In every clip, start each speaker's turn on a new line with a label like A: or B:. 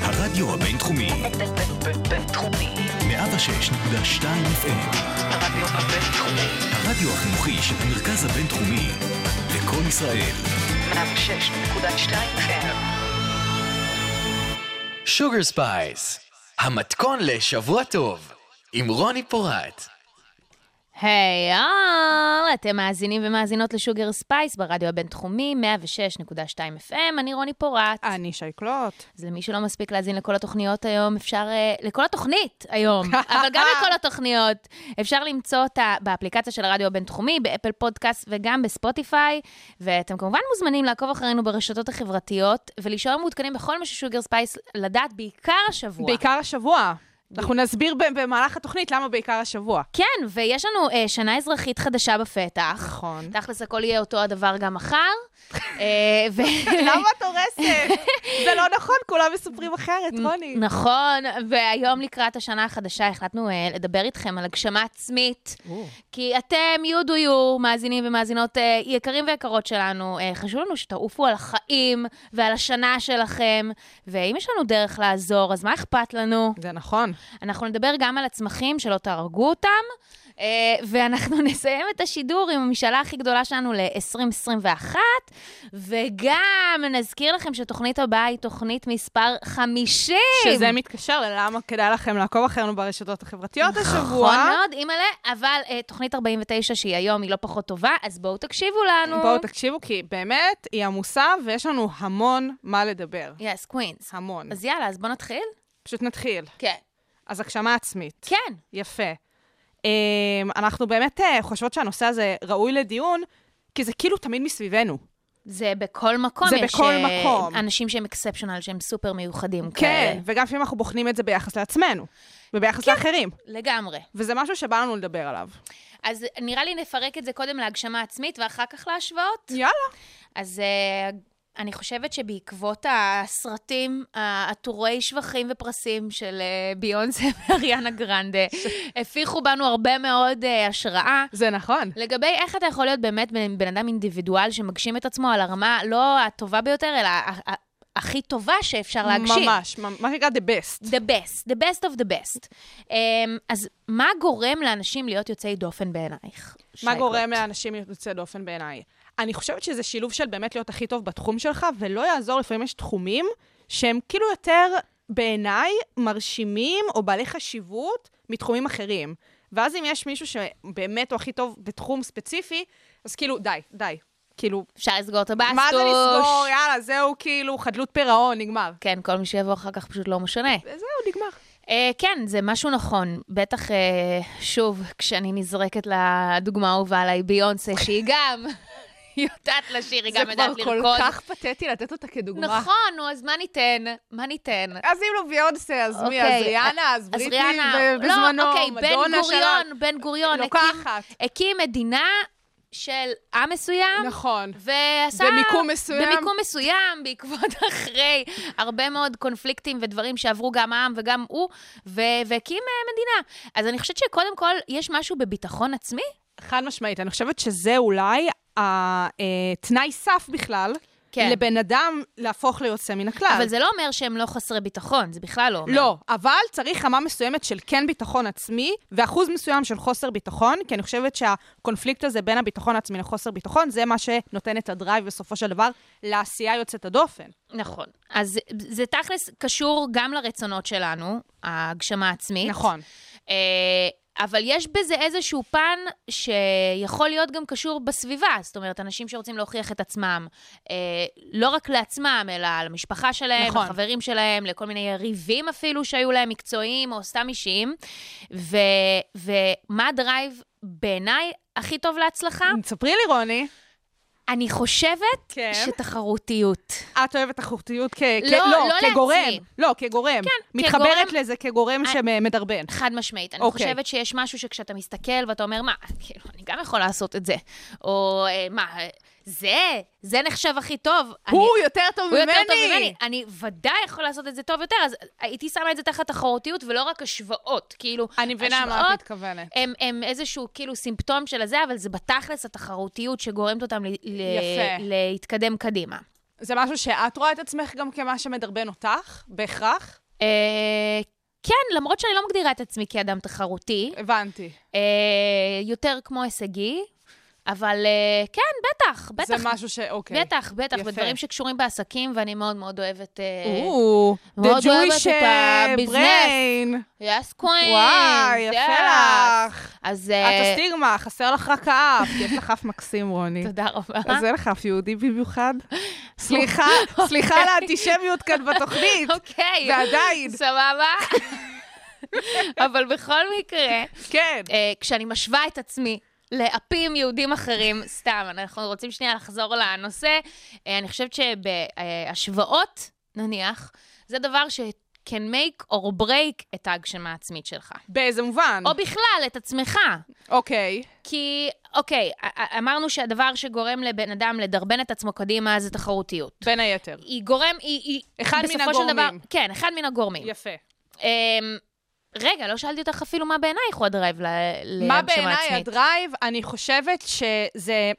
A: הרדיו הבינתחומי,
B: בינתחומי.
A: 106.2 FM,
B: הרדיו הבינתחומי.
A: הרדיו החינוכי של המרכז הבינתחומי, לקום ישראל,
B: 106.2 FM.
C: שוגר ספייס, המתכון לשבוע טוב, עם רוני פורט.
D: היי, יאללה, אתם מאזינים ומאזינות לשוגר ספייס ברדיו הבינתחומי, 106.2 FM, אני רוני פורט.
E: אני שייקלוט.
D: אז למי שלא מספיק להאזין לכל התוכניות היום, אפשר, אה, לכל התוכנית היום, אבל גם לכל התוכניות, אפשר למצוא אותה באפליקציה של הרדיו הבינתחומי, באפל פודקאסט וגם בספוטיפיי, ואתם כמובן מוזמנים לעקוב אחרינו ברשתות החברתיות, ולהישאר מעודכנים בכל מה ששוגר ספייס לדעת בעיקר השבוע.
E: בעיקר השבוע. אנחנו נסביר ב- במהלך התוכנית למה בעיקר השבוע.
D: כן, ויש לנו אה, שנה אזרחית חדשה בפתח.
E: נכון.
D: תכלס הכל יהיה אותו הדבר גם מחר. אה, ו...
E: למה את הורסת? זה לא נכון, כולם מספרים אחרת, רוני.
D: נכון, והיום לקראת השנה החדשה החלטנו אה, לדבר איתכם על הגשמה עצמית. כי אתם, you do you, מאזינים ומאזינות אה, יקרים ויקרות שלנו, אה, חשוב לנו שתעופו על החיים ועל השנה שלכם, ואם יש לנו דרך לעזור, אז מה אכפת לנו?
E: זה נכון.
D: אנחנו נדבר גם על הצמחים, שלא תהרגו אותם, אה, ואנחנו נסיים את השידור עם המשאלה הכי גדולה שלנו ל-2021, וגם נזכיר לכם שהתוכנית הבאה היא תוכנית מספר 50.
E: שזה מתקשר ללמה כדאי לכם לעקוב אחרינו ברשתות החברתיות השבוע.
D: נכון מאוד, אימא'לה, אבל אה, תוכנית 49, שהיא היום, היא לא פחות טובה, אז בואו תקשיבו לנו.
E: בואו תקשיבו, כי באמת היא עמוסה ויש לנו המון מה לדבר.
D: יס, קווינס.
E: המון.
D: אז יאללה, אז בואו נתחיל?
E: פשוט נתחיל.
D: כן.
E: אז הגשמה עצמית.
D: כן.
E: יפה. אמ, אנחנו באמת אה, חושבות שהנושא הזה ראוי לדיון, כי זה כאילו תמיד מסביבנו.
D: זה בכל מקום.
E: זה
D: יש,
E: בכל
D: אה,
E: מקום.
D: אנשים שהם אקספשיונל, שהם סופר מיוחדים כאלה. כן.
E: כן, וגם לפעמים אנחנו בוחנים את זה ביחס לעצמנו, וביחס לאחרים,
D: לגמרי.
E: וזה משהו שבא לנו לדבר עליו.
D: אז נראה לי נפרק את זה קודם להגשמה עצמית ואחר כך להשוואות.
E: יאללה.
D: אז אה, אני חושבת שבעקבות הסרטים, אה, עטורי שבחים ופרסים של אה, ביונסה ואריאנה גרנדה, הפיחו בנו הרבה מאוד אה, השראה.
E: זה נכון.
D: לגבי איך אתה יכול להיות באמת בן, בן אדם אינדיבידואל שמגשים את עצמו על הרמה לא הטובה ביותר, אלא ה- ה- הכי טובה שאפשר להגשים.
E: ממש, ממ- מה שנקרא the best.
D: The best, the best of the best. Um, אז מה גורם לאנשים להיות יוצאי דופן בעינייך?
E: מה
D: שייקלוט?
E: גורם לאנשים יוצא דופן בעיניי? אני חושבת שזה שילוב של באמת להיות הכי טוב בתחום שלך, ולא יעזור, לפעמים יש תחומים שהם כאילו יותר, בעיניי, מרשימים או בעלי חשיבות מתחומים אחרים. ואז אם יש מישהו שבאמת הוא הכי טוב בתחום ספציפי, אז כאילו, די, די. כאילו,
D: אפשר לסגור את הבאסטוש.
E: מה זה לסגור? יאללה, זהו כאילו חדלות פירעון, נגמר.
D: כן, כל מי שיבוא אחר כך פשוט לא משנה.
E: וזהו, נגמר.
D: Uh, כן, זה משהו נכון. בטח, uh, שוב, כשאני נזרקת לדוגמה האהובה עליי, ביונסה, שהיא גם יודעת לשיר, היא גם
E: זה
D: יודעת
E: כבר כל
D: לרקוד.
E: כך פתטי לתת אותה כדוגמה.
D: נכון, נו, אז מה ניתן? מה ניתן?
E: אז אם לא ביונסה, אז מי?
D: אוקיי,
E: אז ריאנה, אז בריטני,
D: ריאנה,
E: ב- בזמנו,
D: לא, אוקיי, בן
E: מדונה שלה.
D: גוריון, בן גוריון הקים-
E: לוקחת.
D: הקים מדינה של עם מסוים.
E: נכון.
D: ועשה...
E: במיקום מסוים.
D: במיקום מסוים, בעקבות אחרי הרבה מאוד קונפליקטים ודברים שעברו גם העם וגם הוא, ו- והקים אה, מדינה. אז אני חושבת שקודם כל, יש משהו בביטחון עצמי?
E: חד משמעית, אני חושבת שזה אולי התנאי סף בכלל,
D: כן.
E: לבן אדם להפוך ליוצא מן הכלל.
D: אבל זה לא אומר שהם לא חסרי ביטחון, זה בכלל לא אומר.
E: אה. לא, אבל צריך רמה מסוימת של כן ביטחון עצמי, ואחוז מסוים של חוסר ביטחון, כי אני חושבת שהקונפליקט הזה בין הביטחון העצמי לחוסר ביטחון, זה מה שנותן את הדרייב בסופו של דבר לעשייה יוצאת הדופן.
D: נכון. אז זה- זה תכלס קשור גם לרצונות שלנו, ההגשמה העצמית.
E: נכון.
D: אה, אבל יש בזה איזשהו פן שיכול להיות גם קשור בסביבה. זאת אומרת, אנשים שרוצים להוכיח את עצמם, אה, לא רק לעצמם, אלא למשפחה שלהם,
E: נכון.
D: לחברים שלהם, לכל מיני יריבים אפילו שהיו להם, מקצועיים או סתם אישיים. ו, ומה הדרייב בעיניי הכי טוב להצלחה?
E: ספרי לי, רוני,
D: אני חושבת
E: כן.
D: שתחרותיות.
E: את אוהבת תחרותיות כ... כ-
D: לא, לא
E: כגורם.
D: לעצמי.
E: לא, כגורם.
D: כן,
E: מתחברת
D: כגורם-
E: לזה כגורם שמדרבן.
D: חד משמעית. אני okay.
E: אוקיי.
D: חושבת שיש משהו שכשאתה מסתכל ואתה אומר, מה, כאילו, אני גם יכול לעשות את זה. או, אה, מה, אה, זה, זה נחשב הכי טוב.
E: הוא
D: אני,
E: יותר טוב
D: הוא
E: ממני!
D: יותר טוב ממני. אני ודאי יכול לעשות את זה טוב יותר, אז הייתי שמה את זה תחת תחרותיות ולא רק השוואות. כאילו,
E: אני מבינה מה את
D: השוואות
E: מתכוונת.
D: הם, הם איזשהו כאילו סימפטום של הזה, אבל זה בתכלס התחרותיות שגורמת אותם ל- ל-
E: יפה.
D: להתקדם קדימה.
E: זה משהו שאת רואה את עצמך גם כמה שמדרבן אותך, בהכרח?
D: אה, כן, למרות שאני לא מגדירה את עצמי כאדם תחרותי,
E: הבנתי.
D: אה, יותר כמו הישגי, אבל אה, כן, בטח, בטח.
E: זה משהו ש... אוקיי.
D: בטח, בטח,
E: יפה.
D: בדברים שקשורים בעסקים, ואני מאוד מאוד אוהבת... אה,
E: או, the
D: מאוד אוהבת
E: Jewish
D: את
E: אה,
D: הביזנס.
E: brain.
D: יס קווין.
E: וואי, יפה לך.
D: אז...
E: את
D: אה,
E: הסטיגמה, חסר לך רק האף. יש לך אף מקסים, רוני.
D: תודה רבה.
E: אז אין לך אף יהודי במיוחד. סליחה, סליחה על האנטישמיות כאן בתוכנית.
D: אוקיי.
E: ועדיין.
D: סבבה. אבל בכל מקרה,
E: כן.
D: אה, כשאני משווה את עצמי לאפים יהודים אחרים, סתם, אנחנו רוצים שנייה לחזור לנושא. אה, אני חושבת שבהשוואות, נניח, זה דבר ש... can make or break את ההגשמה העצמית שלך.
E: באיזה מובן?
D: או בכלל, את עצמך.
E: אוקיי.
D: כי, אוקיי, א- א- אמרנו שהדבר שגורם לבן אדם לדרבן את עצמו קדימה זה תחרותיות.
E: בין היתר.
D: היא גורם, היא, היא
E: אחד מן
D: בסופו של דבר-
E: הגורמים.
D: כן, אחד מן הגורמים.
E: יפה.
D: אמ, רגע, לא שאלתי אותך אפילו מה בעינייך הוא הדרייב ל- להגשמה
E: מה
D: עצמית.
E: בעיניי הדרייב? אני חושבת שזה...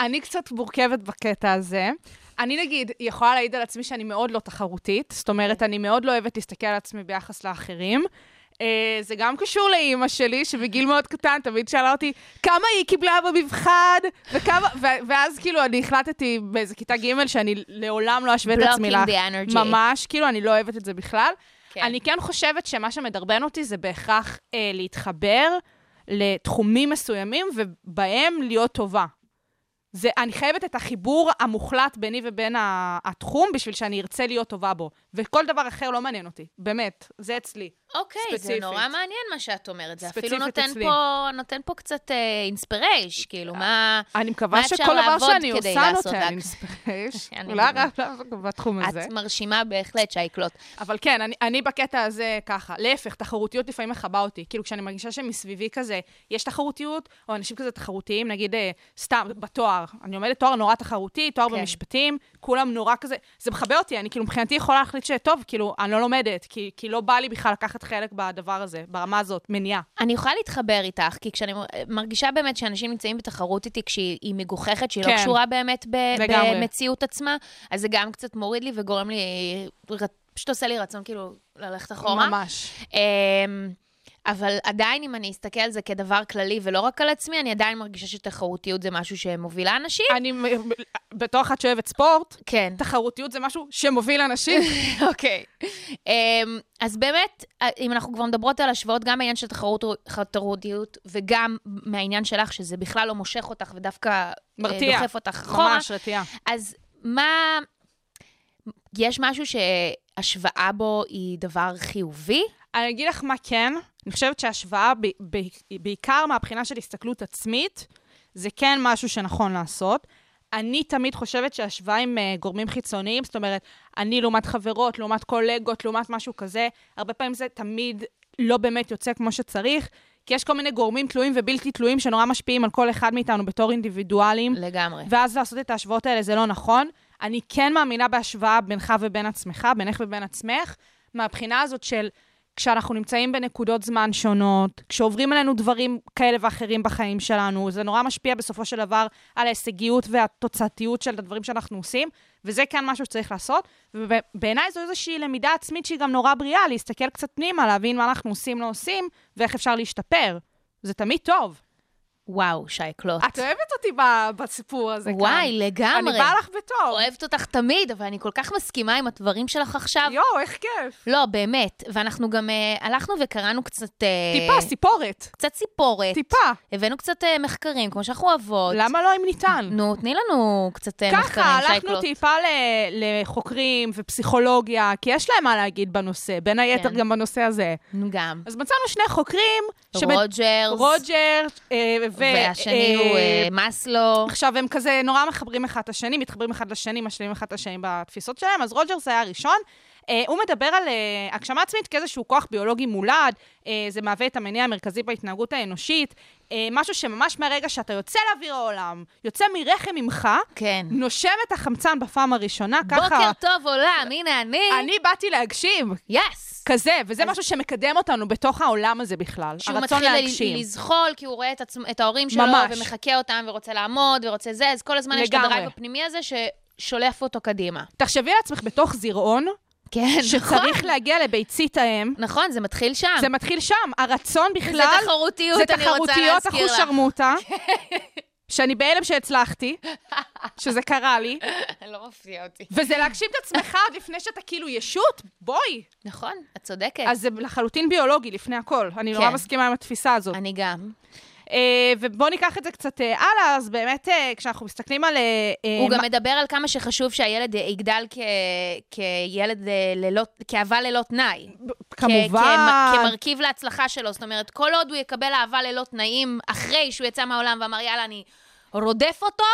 E: אני קצת מורכבת בקטע הזה. אני נגיד יכולה להעיד על עצמי שאני מאוד לא תחרותית, זאת אומרת, אני מאוד לא אוהבת להסתכל על עצמי ביחס לאחרים. אה, זה גם קשור לאימא שלי, שבגיל מאוד קטן תמיד שאלה אותי, כמה היא קיבלה במבחן? וכמה... ו- ואז כאילו אני החלטתי באיזה כיתה ג' שאני לעולם לא אשווה את עצמי
D: Blocking
E: לך.
D: the energy.
E: ממש, כאילו, אני לא אוהבת את זה בכלל.
D: כן.
E: כן. אני כן חושבת שמה שמדרבן אותי זה בהכרח אה, להתחבר לתחומים מסוימים ובהם להיות טובה. זה, אני חייבת את החיבור המוחלט ביני ובין ה- התחום בשביל שאני ארצה להיות טובה בו. וכל דבר אחר לא מעניין אותי, באמת, זה אצלי.
D: אוקיי, זה
E: ספציפית.
D: נורא מעניין מה שאת אומרת. זה אפילו
E: ספציפית
D: נותן
E: אצלי.
D: פה, נותן פה קצת אינספירייש, כאילו, מה...
E: אני
D: מה
E: מקווה
D: אפשר
E: שכל דבר
D: לעבוד
E: שאני
D: כדי
E: עושה לא
D: לעשות
E: נותן
D: רק?
E: אינספירש.
D: אני
E: אולי
D: מבינה.
E: רק רק בתחום הזה.
D: את מרשימה בהחלט שייקלוט.
E: אבל כן, אני, אני בקטע הזה ככה. להפך, תחרותיות לפעמים מכבה אותי. כאילו, כשאני מרגישה שמסביבי כזה יש תחרותיות, או אנשים כזה תחרותיים, נגיד אה, סתם, בתואר. אני לומדת תואר נורא תחרותי, תואר
D: כן.
E: כן. במשפטים, כולם נורא כזה... זה מכבה אותי, אני כאילו מבחינתי יכולה להחליט שטוב, כאילו, אני לא לומדת, כי, כי לא בא לי בכלל לקחת חלק בדבר הזה, ברמה הזאת, מניעה.
D: אני יכולה להתחבר איתך, כי כשאני מרגישה באמת שאנשים נמצאים בתחרות איתי כשהיא היא מגוחכת, שהיא כן. לא
E: כן.
D: קשורה באמת ב-
E: לגמרי.
D: במציאות עצמה, אז זה גם קצת מוריד לי וגורם לי, ר- פשוט עושה לי רצון כאילו ללכת אחורה.
E: ממש.
D: אמ, אבל עדיין, אם אני אסתכל על זה כדבר כללי ולא רק על עצמי, אני עדיין מרגישה שתחרותיות זה משהו שמובילה אנשים.
E: אני, מ- בתור אחת שאוהבת ספורט,
D: כן.
E: תחרותיות זה משהו שמוביל אנשים.
D: אוקיי. אמ, אז באמת, אם אנחנו כבר מדברות על השוואות, גם העניין של תחרות- תחרותיות, וגם מהעניין שלך, שזה בכלל לא מושך אותך ודווקא אה,
E: מרתיע.
D: דוחף אותך אחורה.
E: ממש, רתיעה.
D: אז מה... יש משהו שהשוואה בו היא דבר חיובי?
E: אני אגיד לך מה כן, אני חושבת שהשוואה, ב- ב- בעיקר מהבחינה של הסתכלות עצמית, זה כן משהו שנכון לעשות. אני תמיד חושבת שהשוואה עם אה, גורמים חיצוניים, זאת אומרת, אני לעומת חברות, לעומת קולגות, לעומת משהו כזה, הרבה פעמים זה תמיד לא באמת יוצא כמו שצריך, כי יש כל מיני גורמים תלויים ובלתי תלויים שנורא משפיעים על כל אחד מאיתנו בתור אינדיבידואלים.
D: לגמרי.
E: ואז לעשות את ההשוואות האלה זה לא נכון. אני כן מאמינה בהשוואה בינך ובין עצמך, בינך ובין עצמך, מהבחינה הזאת של כשאנחנו נמצאים בנקודות זמן שונות, כשעוברים עלינו דברים כאלה ואחרים בחיים שלנו, זה נורא משפיע בסופו של דבר על ההישגיות והתוצאתיות של הדברים שאנחנו עושים, וזה כן משהו שצריך לעשות. ובעיניי זו איזושהי למידה עצמית שהיא גם נורא בריאה, להסתכל קצת פנימה, להבין מה אנחנו עושים, לא עושים, ואיך אפשר להשתפר. זה תמיד טוב.
D: וואו, שייקלוט.
E: את אוהבת אותי ב- בסיפור הזה כאן.
D: וואי, לגמרי.
E: אני באה לך בטוב.
D: אוהבת אותך תמיד, אבל אני כל כך מסכימה עם הדברים שלך עכשיו.
E: יואו, איך כיף.
D: לא, באמת. ואנחנו גם אה, הלכנו וקראנו קצת... אה,
E: טיפה, סיפורת.
D: קצת סיפורת.
E: טיפה.
D: הבאנו קצת אה, מחקרים, כמו שאנחנו אוהבות.
E: למה לא אם ניתן?
D: נו, תני לנו קצת אה, מחקרים,
E: ככה, הלכנו
D: שייקלוט.
E: טיפה ל- לחוקרים ופסיכולוגיה, כי יש להם מה להגיד בנושא, בין היתר
D: כן.
E: גם בנושא הזה.
D: נו, גם.
E: אז מצאנו שני חוקרים. שבד-
D: רוג'רס.
E: רוג'ר. אה, ו-
D: והשני
E: אה,
D: הוא אה, מאסלו.
E: עכשיו, הם כזה נורא מחברים אחד את השני, מתחברים אחד לשני, משלימים אחד את השני בתפיסות שלהם, אז רוג'רס היה הראשון. אה, הוא מדבר על אה, הגשמה עצמית כאיזשהו כוח ביולוגי מולד, אה, זה מהווה את המניע המרכזי בהתנהגות האנושית, אה, משהו שממש מהרגע שאתה יוצא לאוויר העולם, יוצא מרחם אמך,
D: כן.
E: נושם את החמצן בפעם הראשונה,
D: בוקר
E: ככה,
D: טוב עולם, הנה אני.
E: אני באתי להגשים,
D: יס.
E: כזה, וזה משהו שמקדם אותנו בתוך העולם הזה בכלל,
D: שהוא
E: הרצון
D: מתחיל ל-
E: להגשים.
D: לזחול, כי הוא רואה את, עצמו, את ההורים שלו,
E: ממש.
D: ומחקה אותם, ורוצה לעמוד, ורוצה זה, אז כל הזמן יש את
E: לגמרי.
D: הדרייב הפנימי הזה ששולף אותו קדימה.
E: תחשבי לעצמך בתוך זרעון,
D: כן, נכון.
E: שצריך להגיע לביצית האם.
D: נכון, זה מתחיל שם.
E: זה מתחיל שם, הרצון בכלל...
D: זה תחרותיות, אני רוצה
E: זה תחרותיות
D: להזכיר לך.
E: אחושרמוטה, שאני בהלם שהצלחתי, שזה קרה לי,
D: לא מפתיע אותי.
E: וזה להגשים את עצמך עוד לפני שאתה כאילו ישות, בואי.
D: נכון, את צודקת.
E: אז זה לחלוטין ביולוגי, לפני הכל. אני נורא
D: כן.
E: מסכימה עם התפיסה הזאת.
D: אני גם.
E: אה, ובואו ניקח את זה קצת אה, הלאה, אז באמת, אה, כשאנחנו מסתכלים על... אה, אה,
D: הוא גם
E: מה-
D: מדבר על כמה שחשוב שהילד אה, יגדל כ- כילד אה, ללא, כאהבה ללא תנאי. כ- כמ-
E: כמובן...
D: כמרכיב להצלחה שלו. זאת אומרת, כל עוד הוא יקבל אהבה ללא תנאים, אחרי שהוא יצא מהעולם ואמר, יאללה, אני רודף אותו,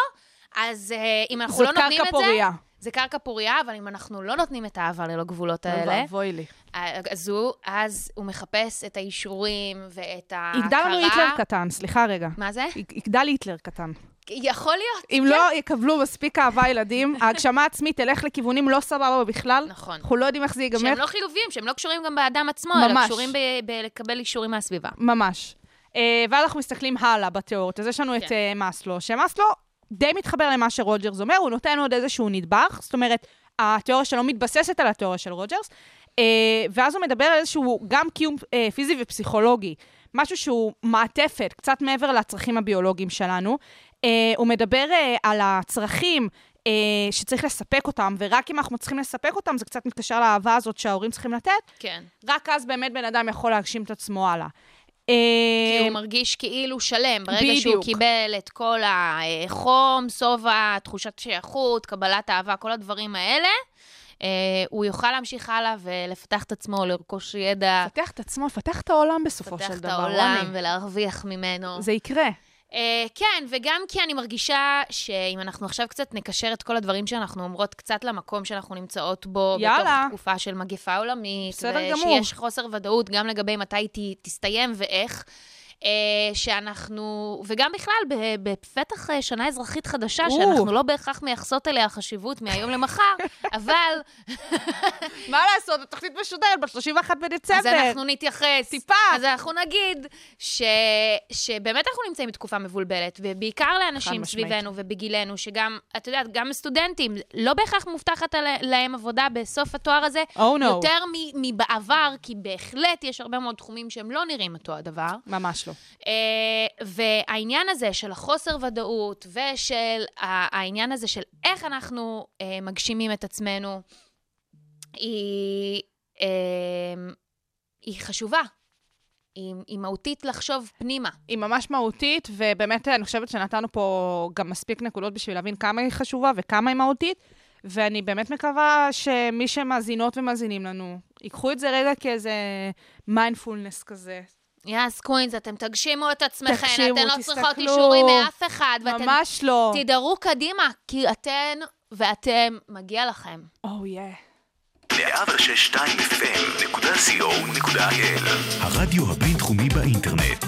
D: אז אה, אם אנחנו
E: זו
D: לא נותנים את
E: קרקע
D: זה...
E: פורייה.
D: זה קרקע פורייה, אבל אם אנחנו לא נותנים את האהבה ללא
E: לא
D: גבולות האלה,
E: ואבוי לי.
D: אה, אז הוא, אז הוא מחפש את האישורים ואת ההכרה.
E: יגדל לנו היטלר קטן, סליחה רגע.
D: מה זה?
E: יג- יגדל היטלר קטן.
D: יכול להיות.
E: אם לא יקבלו מספיק אהבה ילדים, ההגשמה העצמית תלך לכיוונים לא סבבה בכלל.
D: נכון.
E: אנחנו לא יודעים איך זה ייגמר.
D: שהם לא חיוביים, שהם לא קשורים גם באדם עצמו, אלא
E: ממש.
D: קשורים ב- בלקבל אישורים מהסביבה.
E: ממש. אה, ואז אנחנו מסתכלים הלאה בתיאוריות, אז יש לנו את
D: כן.
E: אה, מאסלו, שמאסלו די מתחבר למה שרוג'רס אומר, הוא נותן עוד איזשהו נדבך, זאת אומרת, התיאוריה שלו מתבססת על התיאוריה של רוג'רס, אה, ואז הוא מדבר על איזשהו גם קיום אה, פיזי ופסיכולוגי, משהו שהוא מעטפת, קצת מעבר לצרכים הביולוגיים שלנו. אה, הוא מדבר אה, על הצרכים. אה, שצריך לספק אותם, ורק אם אנחנו צריכים לספק אותם, זה קצת מתקשר לאהבה הזאת שההורים צריכים לתת.
D: כן.
E: רק אז באמת בן אדם יכול להגשים את עצמו הלאה.
D: כי הוא
E: אמ,
D: מרגיש כאילו שלם, ברגע שהוא
E: בדיוק.
D: קיבל את כל החום, שובע, תחושת שייכות, קבלת אהבה, כל הדברים האלה, אה, הוא יוכל להמשיך הלאה ולפתח את עצמו, לרכוש ידע,
E: לפתח את עצמו, לפתח את העולם בסופו
D: לפתח
E: של
D: את
E: דבר.
D: העולם
E: רוני.
D: ולהרוויח ממנו.
E: זה יקרה.
D: אה, כן, וגם כי אני מרגישה שאם אנחנו עכשיו קצת נקשר את כל הדברים שאנחנו אומרות קצת למקום שאנחנו נמצאות בו,
E: יאללה.
D: בתוך תקופה של מגפה עולמית,
E: בסדר גמור.
D: ושיש חוסר ודאות גם לגבי מתי היא ת- תסתיים ואיך. אה, שאנחנו, וגם בכלל, ב- בפתח אה, שנה אזרחית חדשה,
E: או.
D: שאנחנו לא בהכרח מייחסות אליה חשיבות מהיום למחר, אבל
E: מה לעשות, התוכנית משודרת ב-31 בדצמבר.
D: אז אנחנו נתייחס.
E: טיפה.
D: אז אנחנו נגיד ש... שבאמת אנחנו נמצאים בתקופה מבולבלת, ובעיקר
E: חד
D: לאנשים
E: משמעית.
D: סביבנו ובגילנו, שגם, את יודעת, גם סטודנטים, לא בהכרח מובטחת על- להם עבודה בסוף התואר הזה,
E: Oh no.
D: יותר מ- מבעבר, כי בהחלט יש הרבה מאוד תחומים שהם לא נראים אותו הדבר.
E: ממש לא.
D: אה, והעניין הזה של החוסר ודאות ושל ה- העניין הזה של איך אנחנו אה, מגשימים את עצמנו, היא, אה, היא חשובה. היא, היא מהותית לחשוב פנימה.
E: היא ממש מהותית, ובאמת אה, אני חושבת שנתנו פה גם מספיק נקודות בשביל להבין כמה היא חשובה וכמה היא מהותית, ואני באמת מקווה שמי שמאזינות ומאזינים לנו, ייקחו את זה רגע כאיזה מיינדפולנס כזה.
D: יאס קווינס, אתם תגשימו את עצמכם,
E: תגשימו,
D: אתן לא צריכות
E: תסתכלו.
D: אישורים מאף אחד, ואתן
E: ממש לא.
D: תדהרו קדימה, כי אתן ואתם, מגיע לכם.
E: או, יא.
A: 106.2 FM.co.il הרדיו הבינתחומי באינטרנט.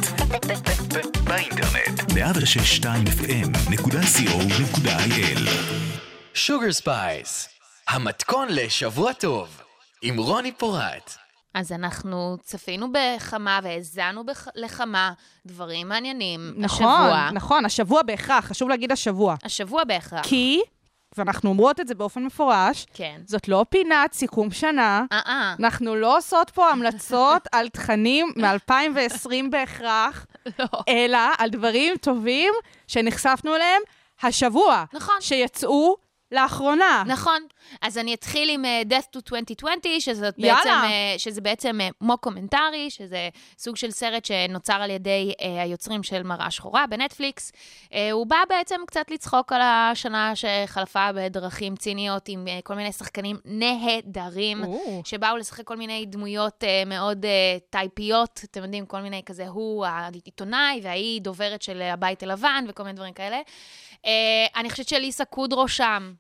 A: באינטרנט. 106.2 FM.co.il
C: שוגר ספייס, המתכון לשבוע טוב, עם רוני פורט.
D: אז אנחנו צפינו בחמה והאזנו בח- לחמה דברים מעניינים
E: נכון,
D: השבוע.
E: נכון, השבוע בהכרח, חשוב להגיד השבוע.
D: השבוע בהכרח.
E: כי, ואנחנו אומרות את זה באופן מפורש,
D: כן.
E: זאת לא פינת סיכום שנה.
D: אה, אה.
E: אנחנו לא עושות פה המלצות על תכנים מ-2020 בהכרח,
D: לא.
E: אלא על דברים טובים שנחשפנו אליהם השבוע.
D: נכון.
E: שיצאו לאחרונה.
D: נכון. אז אני אתחיל עם אה, Death to 2020, שזאת
E: יאללה.
D: בעצם, אה, שזה בעצם אה, מוקומנטרי, שזה סוג של סרט שנוצר על ידי אה, היוצרים של מראה שחורה בנטפליקס. אה, הוא בא בעצם קצת לצחוק על השנה שחלפה בדרכים ציניות עם אה, כל מיני שחקנים נהדרים,
E: או.
D: שבאו לשחק כל מיני דמויות אה, מאוד אה, טייפיות, אתם יודעים, כל מיני כזה, הוא העיתונאי וההיא דוברת של הבית הלבן וכל מיני דברים כאלה. אה, אני חושבת שליסה קודרו שם.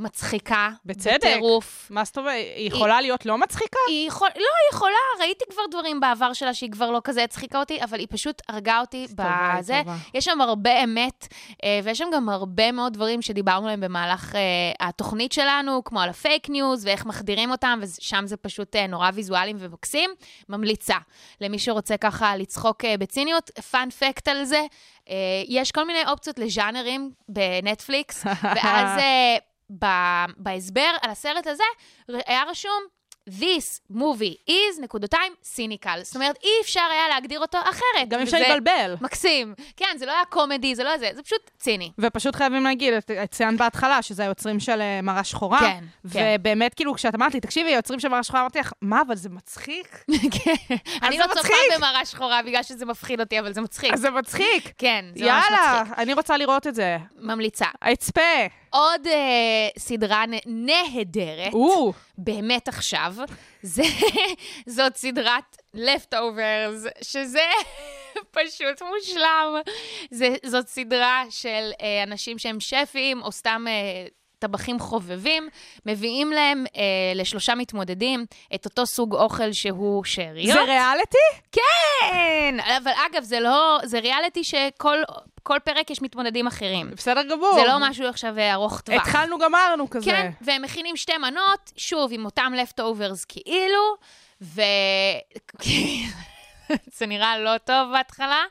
D: מצחיקה.
E: בצדק.
D: בטירוף.
E: מה זאת אומרת? היא יכולה להיות לא מצחיקה?
D: היא יכול... לא, היא יכולה, ראיתי כבר דברים בעבר שלה שהיא כבר לא כזה הצחיקה אותי, אבל היא פשוט הרגה אותי
E: טובה, היא
D: בזה.
E: טובה.
D: יש שם הרבה אמת, אה, ויש שם גם הרבה מאוד דברים שדיברנו עליהם במהלך אה, התוכנית שלנו, כמו על הפייק ניוז ואיך מחדירים אותם, ושם זה פשוט אה, נורא ויזואלים ומקסים. ממליצה למי שרוצה ככה לצחוק אה, בציניות. פאנ פקט על זה, אה, יש כל מיני אופציות לז'אנרים בנטפליקס, ואז... אה, ב- בהסבר על הסרט הזה ר- היה רשום, This movie is נקודתיים סיניקל. זאת אומרת, אי אפשר היה להגדיר אותו אחרת.
E: גם אפשר
D: וזה
E: להתבלבל.
D: מקסים. כן, זה לא היה קומדי, זה לא זה, זה פשוט ציני.
E: ופשוט חייבים להגיד, את- את ציינת בהתחלה, שזה היוצרים של אה, מראה שחורה.
D: כן, כן.
E: ובאמת, כאילו, כשאת אמרת לי, תקשיבי, היוצרים של מראה שחורה, אמרתי לך, מה, אבל זה מצחיק?
D: כן. אני
E: זה
D: לא צופה
E: מצחיק.
D: במראה שחורה בגלל שזה מפחיד אותי, אבל זה מצחיק.
E: אז זה מצחיק.
D: כן, זה ממש
E: יאללה,
D: מצחיק.
E: אני רוצה לראות את זה.
D: ממליצה.
E: אצפה.
D: עוד אה, סדרה נ- נהדרת,
E: או,
D: באמת עכשיו, זה, זאת סדרת Leftovers, שזה פשוט מושלם. זה, זאת סדרה של אה, אנשים שהם שפים, או סתם... אה, טבחים חובבים, מביאים להם אה, לשלושה מתמודדים את אותו סוג אוכל שהוא שאריות.
E: זה ריאליטי?
D: כן! אבל אגב, זה לא... זה ריאליטי שכל כל פרק יש מתמודדים אחרים.
E: בסדר גמור.
D: זה לא משהו עכשיו אה, ארוך טווח.
E: התחלנו, גמרנו כזה.
D: כן, והם מכינים שתי מנות, שוב, עם אותם לפטאוברס כאילו, ו... זה נראה לא טוב בהתחלה,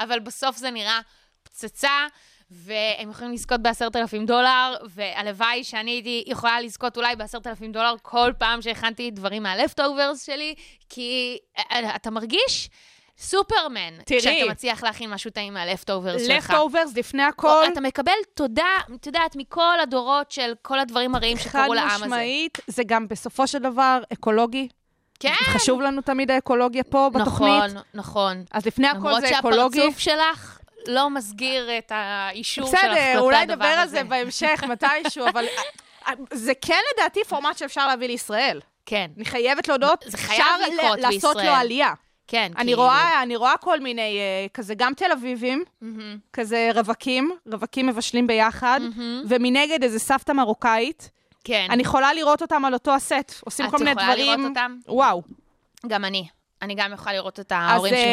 D: אבל בסוף זה נראה פצצה, והם יכולים לזכות ב-10,000 דולר, והלוואי שאני הייתי יכולה לזכות אולי ב-10,000 דולר כל פעם שהכנתי דברים מהלפטאוברס שלי, כי אה, אתה מרגיש סופרמן,
E: תראי.
D: כשאתה מצליח להכין משהו טעים מהלפטאוברס שלך.
E: לפטאוברס לפני הכל.
D: אתה מקבל תודה, את יודעת, מכל הדורות של כל הדברים הרעים
E: חד
D: שקרו לעם הזה.
E: משמעית, זה גם בסופו של דבר אקולוגי.
D: כן,
E: חשוב לנו תמיד האקולוגיה פה בתוכנית.
D: נכון, נכון.
E: אז לפני הכל
D: למרות
E: זה אקולוגי.
D: שהפרצוף שלך לא מסגיר את האישור שלך
E: בסדר,
D: כלפי
E: אולי
D: הדבר
E: נדבר על
D: הזה.
E: זה בהמשך, מתישהו, אבל אה, אה, זה כן לדעתי פורמט שאפשר להביא לישראל.
D: כן,
E: אני חייבת להודות,
D: זה חייב
E: אפשר ל-
D: לקרות
E: לעשות
D: בישראל.
E: לו עלייה.
D: כן.
E: אני
D: כאילו.
E: רואה, אני רואה כל מיני, אה, כזה גם תל אביבים,
D: מהמם.
E: כזה רווקים, רווקים מבשלים ביחד, ומנגד איזה סבתא מרוקאית.
D: כן.
E: אני יכולה לראות אותם על אותו הסט, עושים
D: את
E: כל מיני דברים.
D: יכולה לראות אותם?
E: וואו.
D: גם אני. אני גם יכולה לראות את
E: אז
D: ההורים
E: אה,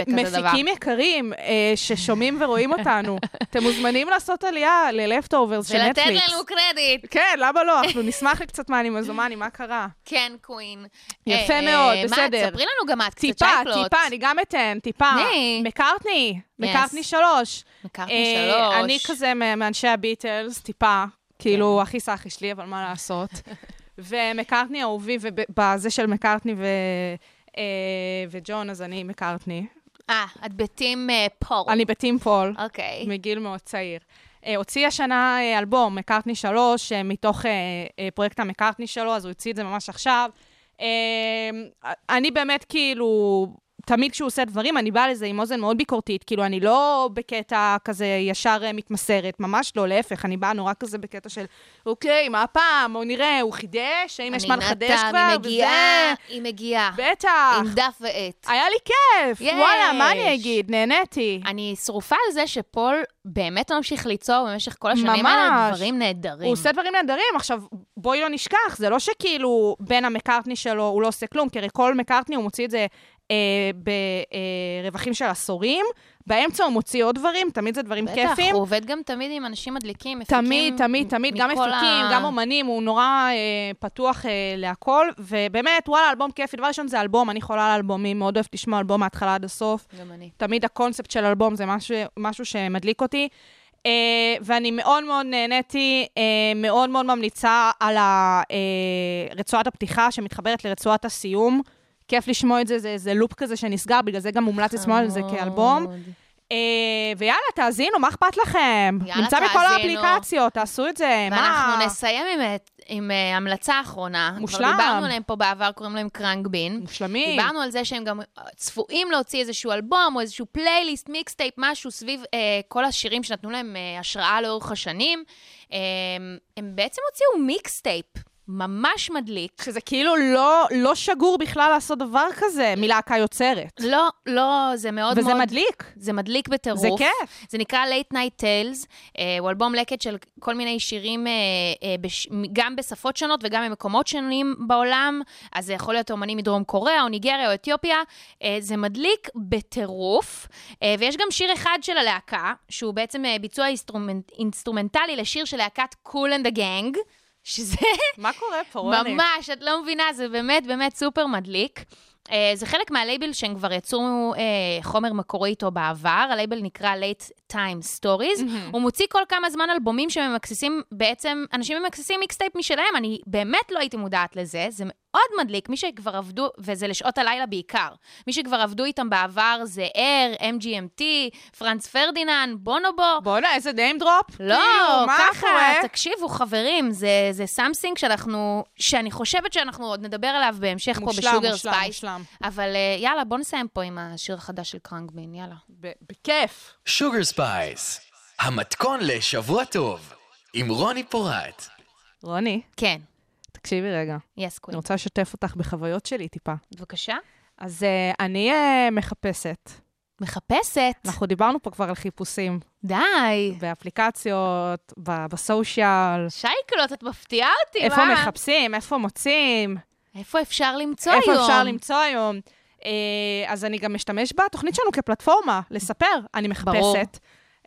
D: שמשתתפים בכזה דבר.
E: מפיקים יקרים אה, ששומעים ורואים אותנו, אתם מוזמנים לעשות עלייה ללפטאוברס של
D: ולתת
E: נטפליקס.
D: לנו קרדיט.
E: כן, למה לא? אנחנו נשמח לקצת מהנימזומני, מה קרה?
D: כן, קווין.
E: יפה
D: אה,
E: מאוד,
D: אה,
E: בסדר.
D: מה, תספרי לנו גם את, קצת
E: טיפה,
D: שייקלוט.
E: טיפה, אני גם אתן, טיפה.
D: ני.
E: מקארטני, מקארטני שלוש.
D: מקארטני
E: אה,
D: שלוש. כן.
E: אני כזה מ- מאנשי הביטלס, טיפה. כאילו, הכי סאחי שלי, אבל מה לעשות. ומקארטני אהובי, ובזה של מקארטני ו... אה, וג'ון, אז אני מקארטני.
D: אה, את בטים אה, פור.
E: אני בטים פול.
D: אוקיי.
E: מגיל מאוד צעיר. אה, הוציא השנה אה, אלבום, מקארטני 3, אה, מתוך אה, אה, פרויקט המקארטני שלו, אז הוא הוציא את זה ממש עכשיו. אה, אני באמת כאילו, תמיד כשהוא עושה דברים, אני באה לזה עם אוזן מאוד ביקורתית. כאילו, אני לא בקטע כזה ישר אה, מתמסרת, ממש לא, להפך, אני באה נורא כזה בקטע של, אוקיי, מה הפעם? בואו נראה, הוא חידש? האם יש מה לחדש
D: אני
E: כבר?
D: נתם, היא מגיעה,
E: וזה.
D: היא מגיעה.
E: בטח.
D: עם דף ועט.
E: היה לי כיף,
D: יש.
E: וואלה, מה אני אגיד? נהניתי.
D: אני שרופה על זה שפול באמת ממשיך ליצור במשך כל השנים האלה
E: ממש.
D: דברים נהדרים.
E: הוא עושה דברים נהדרים. עכשיו, בואי לא נשכח, זה לא שכאילו בין המקארטני שלו הוא לא עושה כלום, כי הרי כל מקארטני הוא מוציא את זה אה, ברווחים של עשורים, באמצע הוא מוציא עוד דברים, תמיד זה דברים
D: בטח,
E: כיפים.
D: הוא עובד גם תמיד עם אנשים מדליקים, מפיקים.
E: תמיד, תמיד, תמיד, גם
D: מכל
E: מפיקים,
D: ה-
E: גם אומנים, הוא נורא אה, פתוח אה, להכל, ובאמת, וואלה, אלבום כיפי. דבר ראשון, זה אלבום, אני חולה על אלבומים, מאוד אוהבת לשמוע אלבום מההתחלה עד הסוף.
D: גם אני.
E: תמיד הקונספט של אלבום זה משהו, משהו שמדליק אותי. Uh, ואני מאוד מאוד נהניתי, uh, מאוד מאוד ממליצה על ה, uh, רצועת הפתיחה שמתחברת לרצועת הסיום. כיף לשמוע את זה, זה, זה לופ כזה שנסגר, בגלל זה גם מומלץ לשמוע על זה כאלבום.
D: חמוד.
E: Uh, ויאללה, תאזינו, מה אכפת לכם?
D: יאללה,
E: נמצא בכל
D: תאזינו.
E: האפליקציות, תעשו את זה, מה?
D: ואנחנו נסיים עם, את- עם אה, המלצה אחרונה. כבר
E: מושלם.
D: דיברנו עליהם פה בעבר, קוראים להם קרנק בין.
E: מושלמים.
D: דיברנו על זה שהם גם אה, צפויים להוציא איזשהו אלבום או איזשהו פלייליסט, מיקסטייפ, משהו סביב אה, כל השירים שנתנו להם אה, השראה לאורך השנים. אה, הם בעצם הוציאו מיקסטייפ ממש מדליק.
E: שזה כאילו לא, לא שגור בכלל לעשות דבר כזה מלהקה יוצרת.
D: לא, לא, זה אה, מאוד
E: וזה
D: מאוד...
E: מדליק.
D: זה מדליק בטירוף.
E: זה כיף.
D: זה נקרא Late Night Tales, אה, הוא אלבום לקט של כל מיני שירים, אה, אה, בש... גם בשפות שונות וגם במקומות שונים בעולם, אז זה יכול להיות אומנים מדרום קוריאה או ניגריה או אתיופיה, אה, זה מדליק בטירוף, אה, ויש גם שיר אחד של הלהקה, שהוא בעצם אה, ביצוע אינסטרומנט... אינסטרומנטלי לשיר של להקת קול אנד הגנג, שזה
E: מה קורה פה, רוני?
D: ממש, את לא מבינה, זה באמת באמת סופר מדליק. אה, זה חלק מהלייבל שהם כבר יצרו אה, חומר מקורי איתו בעבר, הלייבל נקרא Late Time Stories. הוא מוציא כל כמה זמן אלבומים שממקססים, בעצם, אנשים ממקססים מיקסטייפ משלהם, אני באמת לא הייתי מודעת לזה, זה מאוד מדליק. מי שכבר עבדו, וזה לשעות הלילה בעיקר, מי שכבר עבדו איתם בעבר זה אר, MGMT, פרנץ פרדינן, בונובו.
E: בואנה, איזה name drop.
D: לא,
E: כאילו, מה
D: ככה,
E: קורה?
D: תקשיבו, חברים, זה, זה סמסינג שאנחנו, שאני חושבת שאנחנו עוד נדבר עליו בהמשך
E: מושלם,
D: פה בשוגר
E: מושלם,
D: ספייס.
E: מושלם.
D: אבל אה, יאללה, בוא נסיים פה עם השיר החדש של קרנגבין, יאללה.
E: ב- בכיף.
C: שוגר ספייס, המתכון לשבוע טוב, עם רוני פורט.
E: רוני,
D: כן,
E: תקשיבי רגע.
D: יס
E: אני
D: קווין.
E: רוצה לשתף אותך בחוויות שלי טיפה.
D: בבקשה.
E: אז אה, אני אה, מחפשת.
D: מחפשת.
E: אנחנו דיברנו פה כבר על חיפושים
D: די.
E: באפליקציות, ב- בסושיאל.
D: שייקלוט, את מפתיעה אותי,
E: איפה
D: מה?
E: מחפשים, איפה מוצאים,
D: איפה אפשר למצוא היום?
E: איפה אפשר למצוא היום. אה, אז אני גם אשתמש בתוכנית שלנו כפלטפורמה, לספר. אני
D: ברור.
E: מחפשת.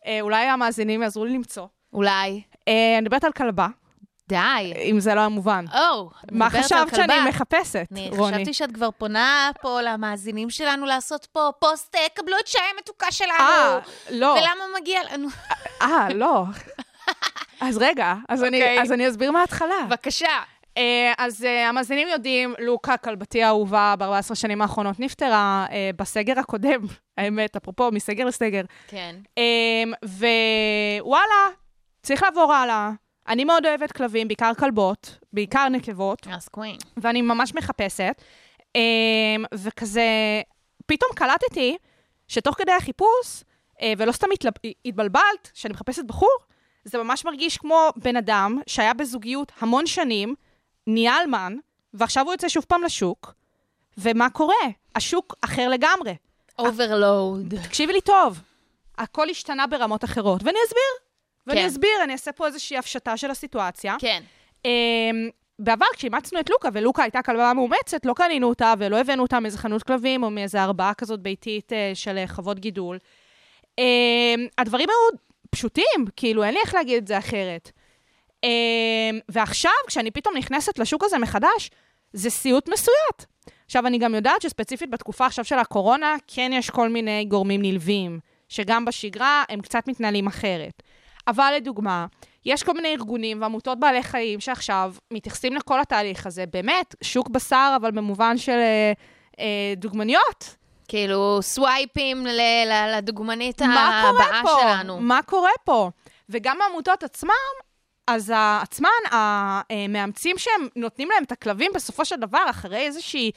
E: אה, אולי המאזינים יעזרו לי למצוא.
D: אולי.
E: אה, אני מדברת על כלבה,
D: די.
E: אם זה לא היה מובן.
D: או,
E: מה
D: מדברת על
E: חשבת שאני
D: כלבה.
E: מחפשת,
D: אני
E: רוני?
D: חשבתי שאת כבר פונה פה למאזינים שלנו לעשות פה פוסט, אה, קבלו את שי המתוקה שלנו.
E: אה, לא.
D: ולמה מגיע לנו?
E: אה, לא. אז רגע, אז אני-
D: אוקיי.
E: אז אני אסביר מההתחלה.
D: בבקשה.
E: אה, אז אה, המאזינים יודעים, לוקה, כלבתי האהובה, ב-14 שנים האחרונות נפטרה אה, בסגר הקודם, האמת, אפרופו, מסגר לסגר.
D: כן.
E: אה, ווואלה, צריך לעבור הלאה. אני מאוד אוהבת כלבים, בעיקר כלבות, בעיקר נקבות,
D: אז קווין.
E: ואני ממש מחפשת. אה, וכזה, פתאום קלטתי שתוך כדי החיפוש, אה, ולא סתם התלב- התבלבלת, שאני מחפשת בחור, זה ממש מרגיש כמו בן אדם שהיה בזוגיות המון שנים, נהיה אלמן, ועכשיו הוא יוצא שוב פעם לשוק, ומה קורה? השוק אחר לגמרי.
D: אוברלואוד.
E: תקשיבי לי טוב, הכל השתנה ברמות אחרות, ואני אסביר. ואני
D: כן.
E: אסביר, אני אעשה פה איזושהי הפשטה של הסיטואציה.
D: כן.
E: אמ, בעבר, כשאימצנו את לוקה, ולוקה הייתה כלבה מאומצת, לא קנינו אותה ולא הבאנו אותה מאיזה חנות כלבים או מאיזה הרבעה כזאת ביתית אה, של אה, חוות גידול. אמ, הדברים היו פשוטים, כאילו, אין לי איך להגיד את זה אחרת. אמ, ועכשיו, כשאני פתאום נכנסת לשוק הזה מחדש, זה סיוט מסויט. עכשיו, אני גם יודעת שספציפית בתקופה עכשיו של הקורונה, כן יש כל מיני גורמים נלווים, שגם בשגרה הם קצת מתנהלים אחרת. אבל לדוגמה, יש כל מיני ארגונים ועמותות בעלי חיים שעכשיו מתייחסים לכל התהליך הזה, באמת, שוק בשר, אבל במובן של אה, אה, דוגמניות.
D: כאילו, סווייפים ל- ל- לדוגמנית
E: מה קורה
D: הבאה
E: פה?
D: שלנו.
E: מה קורה פה? וגם העמותות עצמם, אז עצמן, המאמצים שהם נותנים להם את הכלבים, בסופו של דבר, אחרי איזושהי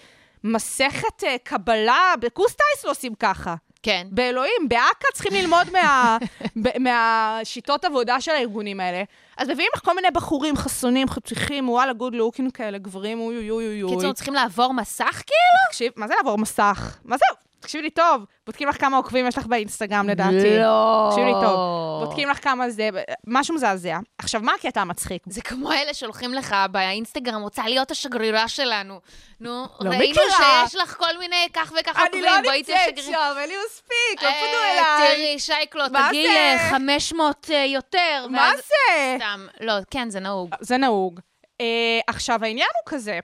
E: מסכת אה, קבלה, בקורס טיס לא עושים ככה.
D: כן.
E: באלוהים, באכ"א צריכים ללמוד מה, ב- מהשיטות עבודה של הארגונים האלה. אז מביאים לך כל מיני בחורים חסונים, חתיכים, וואלה, גוד לוקים כאלה, גברים, אוי אוי אוי אוי.
D: קיצור, צריכים לעבור מסך כאילו?
E: תקשיב, מה זה לעבור מסך? מה זה? תקשיבי לי טוב, בודקים לך כמה עוקבים יש לך באינסטגרם לדעתי.
D: לא.
E: תקשיבי לי טוב. בודקים לך כמה זה, משהו מזעזע. עכשיו, מה הקטע המצחיק?
D: זה כמו אלה שהולכים לך באינסטגרם, רוצה להיות השגרירה שלנו. נו,
E: לא
D: ראינו
E: מכירה.
D: שיש לך כל מיני כך וכך
E: אני
D: עוקבים,
E: לא
D: בואי תהיה
E: נמצאת
D: שגרירה.
E: שם, אין לי מספיק, לא
D: אה,
E: פנו אליי.
D: תראי, אה, שייקלו,
E: מה
D: תגיעי
E: זה?
D: ל-500 יותר.
E: מה
D: ואז-
E: זה?
D: סתם, לא, כן, זה נהוג.
E: זה נהוג. אה, עכשיו, העניין הוא כזה,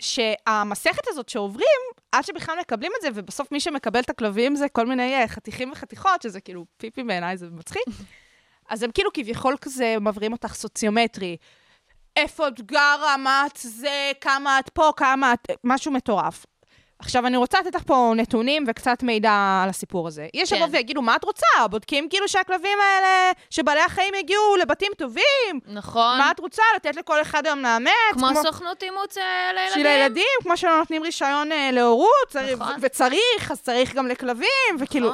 E: שהמסכת הזאת שעוברים, עד שבכלל מקבלים את זה, ובסוף מי שמקבל את הכלבים זה כל מיני אה, חתיכים וחתיכות, שזה כאילו פיפי בעיניי, זה מצחיק. אז הם כאילו כביכול כזה מבריאים אותך סוציומטרי. איפה את גרה, מה את זה, כמה את פה, כמה את... משהו מטורף. עכשיו, אני רוצה לתת לך פה נתונים וקצת מידע על הסיפור הזה. יש
D: כן.
E: שיבואו ויגידו, מה את רוצה? בודקים כאילו שהכלבים האלה, שבעלי החיים יגיעו לבתים טובים,
D: נכון.
E: מה את רוצה? לתת לכל אחד היום לאמץ?
D: כמו סוכנות אימוץ אה,
E: של
D: לילדים.
E: הילדים, כמו שלא נותנים רישיון אה, להורות, צריך-
D: נכון.
E: ו- וצריך, אז צריך גם לכלבים, וכאילו...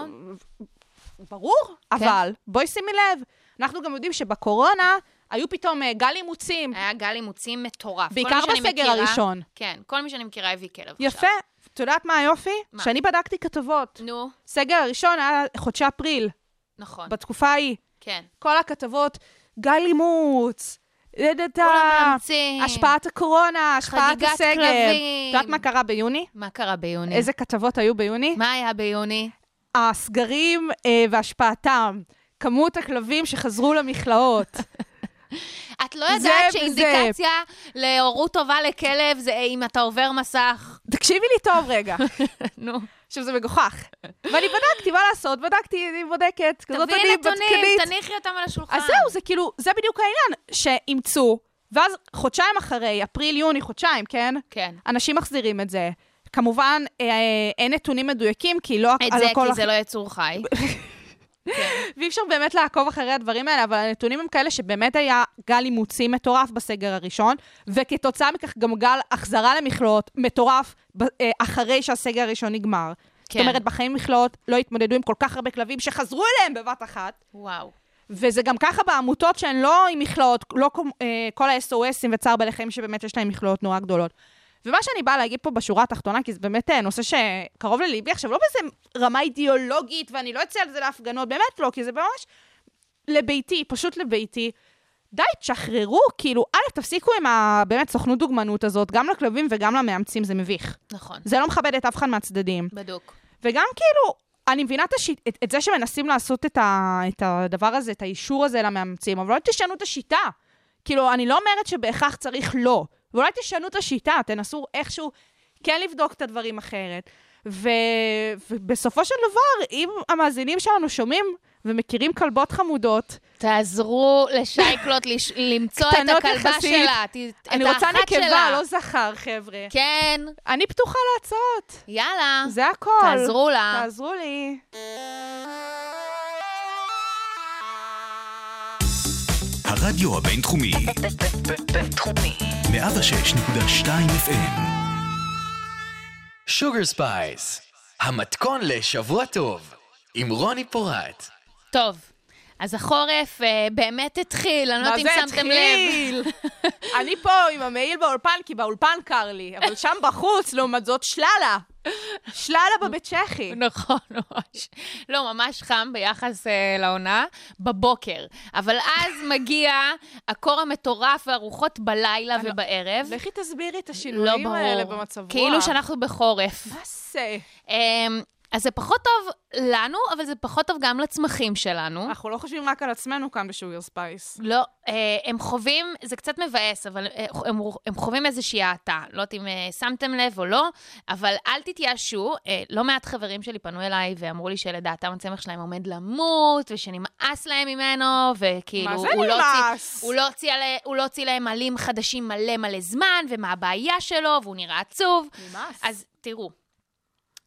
E: ברור,
D: כן.
E: אבל בואי שימי לב, אנחנו גם יודעים שבקורונה היו פתאום אה, גל אימוצים,
D: היה גל אימוצים מטורף. כל מי
E: בעיקר
D: שאני
E: בסגר
D: מכירה-
E: הראשון.
D: כן, כל מי שאני מכירה הביא כלב
E: יפה.
D: עכשיו.
E: את יודעת מה היופי?
D: מה?
E: שאני בדקתי כתבות.
D: נו,
E: סגר הראשון היה חודשי אפריל,
D: נכון,
E: בתקופה ההיא.
D: כן.
E: כל הכתבות, גל אימוץ, דדתה,
D: כולם מאמצים.
E: השפעת הקורונה, השפעת
D: חגיגת
E: הסגר.
D: כלבים.
E: את יודעת מה קרה ביוני?
D: מה קרה ביוני?
E: איזה כתבות היו ביוני?
D: מה היה ביוני?
E: הסגרים אה, והשפעתם, כמות הכלבים שחזרו למכלאות.
D: את לא
E: זה
D: יודעת
E: וזה.
D: שאינדיקציה להורות טובה לכלב זה אם אתה עובר מסך.
E: תקשיבי לי טוב רגע.
D: נו.
E: עכשיו, זה מגוחך. ואני בדקתי, מה לעשות? בדקתי, אני בודקת. כזאת
D: תביאי
E: אני
D: נתונים, אה.
E: בדקנית.
D: תניחי אותם על השולחן.
E: אז זהו, זה כאילו, זה בדיוק העניין, שאימצו, ואז חודשיים אחרי, אפריל-יוני, חודשיים, כן?
D: כן.
E: אנשים מחזירים את זה. כמובן, אה, אין נתונים מדויקים, כי לא
D: את
E: על
D: זה,
E: הכל...
D: כי זה לא יצור חי.
E: ואי אפשר באמת לעקוב אחרי הדברים האלה, אבל הנתונים הם כאלה שבאמת היה גל אימוצים מטורף בסגר הראשון, וכתוצאה מכך גם גל החזרה למכלאות מטורף ב- אה, אחרי שהסגר הראשון נגמר.
D: כן.
E: זאת אומרת, בחיים מכלאות לא התמודדו עם כל כך הרבה כלבים שחזרו אליהם בבת אחת.
D: וואו.
E: וזה גם ככה בעמותות שהן לא עם מכלאות, לא כמו, אה, כל ה-SOSים וצער בעלי חיים שבאמת יש להם מכלאות נורא גדולות. ומה שאני באה להגיד פה בשורה התחתונה, כי זה באמת אה, נושא שקרוב לליבי עכשיו, לא באיזה רמה אידיאולוגית, ואני לא אצא על זה להפגנות, באמת לא, כי זה ממש לביתי, פשוט לביתי. די, תשחררו, כאילו, א', תפסיקו עם ה... באמת סוכנות דוגמנות הזאת, גם לכלבים וגם למאמצים, זה מביך.
D: נכון.
E: זה לא מכבד את אף אחד מהצדדים.
D: בדוק.
E: וגם כאילו, אני מבינה את, השיט, את, את זה שמנסים לעשות את, ה, את הדבר הזה, את האישור הזה למאמצים, אבל אולי תשנו את השיטה. כאילו, אני לא אומרת שבהכרח צריך לא, ואולי תשנו את השיטה, תנסו איכשהו כן לבדוק את הדברים אחרת. ו, ובסופו של דבר, אם המאזינים שלנו שומעים ומכירים כלבות חמודות,
D: תעזרו לשייקלוט לש- למצוא את
E: קטנות
D: הכלבה
E: יחסית.
D: שלה, ת- את האחת שלה.
E: אני רוצה נקבה, לא זכר, חבר'ה.
D: כן,
E: אני פתוחה להצעות,
D: יאללה.
E: זה הכל.
D: תעזרו לה.
E: תעזרו לי.
A: הרדיו הבינתחומי,
B: בינתחומי.
A: 106.2 FM,
C: שוגר ספייס, המתכון לשבוע טוב, עם רוני פורט.
D: טוב, אז החורף אה, באמת התחיל, אני לא יודעת אם שמתם לב.
E: אני פה עם המעיל באולפן, כי באולפן קר לי, אבל שם בחוץ, לעומת זאת, שללה. שללה בבית צ'כי.
D: נכון, ממש. לא, ממש חם ביחס אה, לעונה, בבוקר. אבל אז מגיע הקור המטורף והרוחות בלילה ובערב.
E: לכי תסבירי את
D: לא
E: השינויים האלה
D: ברור.
E: במצב רוח.
D: כאילו שאנחנו בחורף.
E: מה זה?
D: אמ, אז זה פחות טוב לנו, אבל זה פחות טוב גם לצמחים שלנו.
E: אנחנו לא חושבים רק על עצמנו כאן בשוגר ספייס.
D: לא, אה, הם חווים, זה קצת מבאס, אבל אה, הם, הם חווים איזושהי האטה. לא יודעת אם אה, שמתם לב או לא, אבל אל תתייאשו. אה, לא מעט חברים שלי פנו אליי ואמרו לי שלדעתם הצמח שלהם עומד למות, ושנמאס להם ממנו, וכאילו,
E: מה זה
D: הוא לא הוציא-
E: נמאס?
D: הוא לא הוציא עלי- הוא לא הוציא להם עלים חדשים מלא מלא זמן, ומה הבעיה שלו, והוא נראה עצוב.
E: נמאס.
D: אז תראו,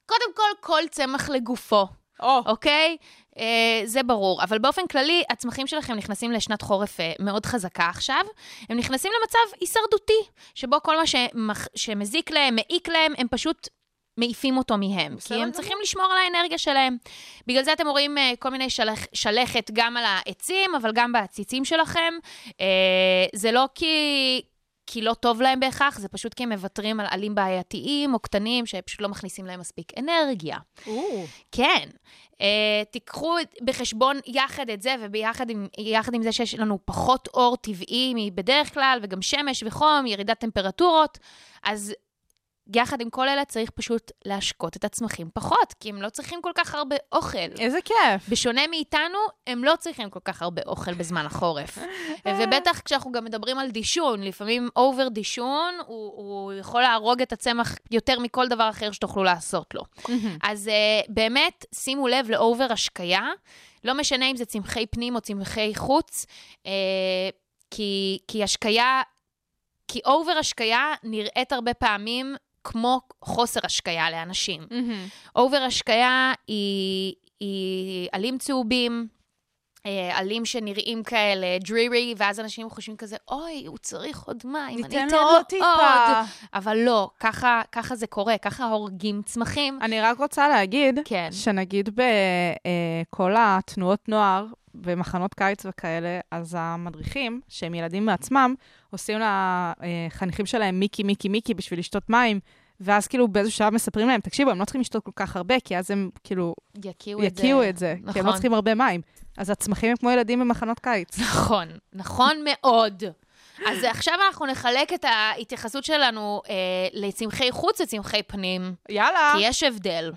D: קודם כל, כל צמח לגופו.
E: או,
D: אוקיי? אה, זה ברור. אבל באופן כללי, הצמחים שלכם נכנסים לשנת חורף אה, מאוד חזקה עכשיו. הם נכנסים למצב הישרדותי, שבו כל מה שמח... שמזיק להם, מעיק להם, הם פשוט... מעיפים אותו מהם, כי
E: בסדר
D: הם
E: גמור.
D: צריכים לשמור על האנרגיה שלהם. בגלל זה אתם רואים אה, כל מיני שלח, שלכת גם על העצים, אבל גם בעציצים שלכם. אה, זה לא כי, כי לא טוב להם בהכרח, זה פשוט כי הם מוותרים על עלים בעייתיים או קטנים, שפשוט לא מכניסים להם מספיק אנרגיה.
E: או,
D: כן. Uh, תיקחו את- בחשבון יחד את זה, וביחד עם, יחד עם זה שיש לנו פחות אור טבעי מבדרך כלל, וגם שמש וחום, ירידת טמפרטורות, אז יחד עם כל אלה צריך פשוט להשקות את הצמחים פחות, כי הם לא צריכים כל כך הרבה אוכל.
E: איזה כיף.
D: בשונה מאיתנו, הם לא צריכים כל כך הרבה אוכל בזמן החורף. ובטח כשאנחנו גם מדברים על דישון, לפעמים אובר דישון, הוא, הוא יכול להרוג את הצמח יותר מכל דבר אחר שתוכלו לעשות לו. אז uh, באמת, שימו לב לאובר השקיה, לא משנה אם זה צמחי פנים או צמחי חוץ, uh, כי, כי השקיה, כי אובר השקיה נראית הרבה פעמים כמו חוסר השקיה לאנשים. אובר השקיה היא, היא עלים צהובים. אה, עלים שנראים כאלה דרירי, ואז אנשים חושבים כזה, אוי, הוא צריך עוד מים, אני
E: ניתן
D: אתן
E: לו עוד טיפה.
D: אבל לא, ככה, ככה זה קורה, ככה הורגים צמחים.
E: אני רק רוצה להגיד,
D: כן.
E: שנגיד בכל התנועות נוער, במחנות קיץ וכאלה, אז המדריכים, שהם ילדים מעצמם, עושים לחניכים שלהם מיקי, מיקי, מיקי בשביל לשתות מים, ואז כאילו באיזשהו שלב מספרים להם, תקשיבו, הם לא צריכים לשתות כל כך הרבה, כי אז הם כאילו
D: יקיעו את זה.
E: יקיעו את זה, כי הם לא
D: נכון,
E: צריכים הרבה מים. אז הצמחים הם כמו ילדים במחנות קיץ.
D: נכון, נכון מאוד. אז עכשיו אנחנו נחלק את ההתייחסות שלנו אה, לצמחי חוץ וצמחי פנים.
E: יאללה.
D: כי יש הבדל.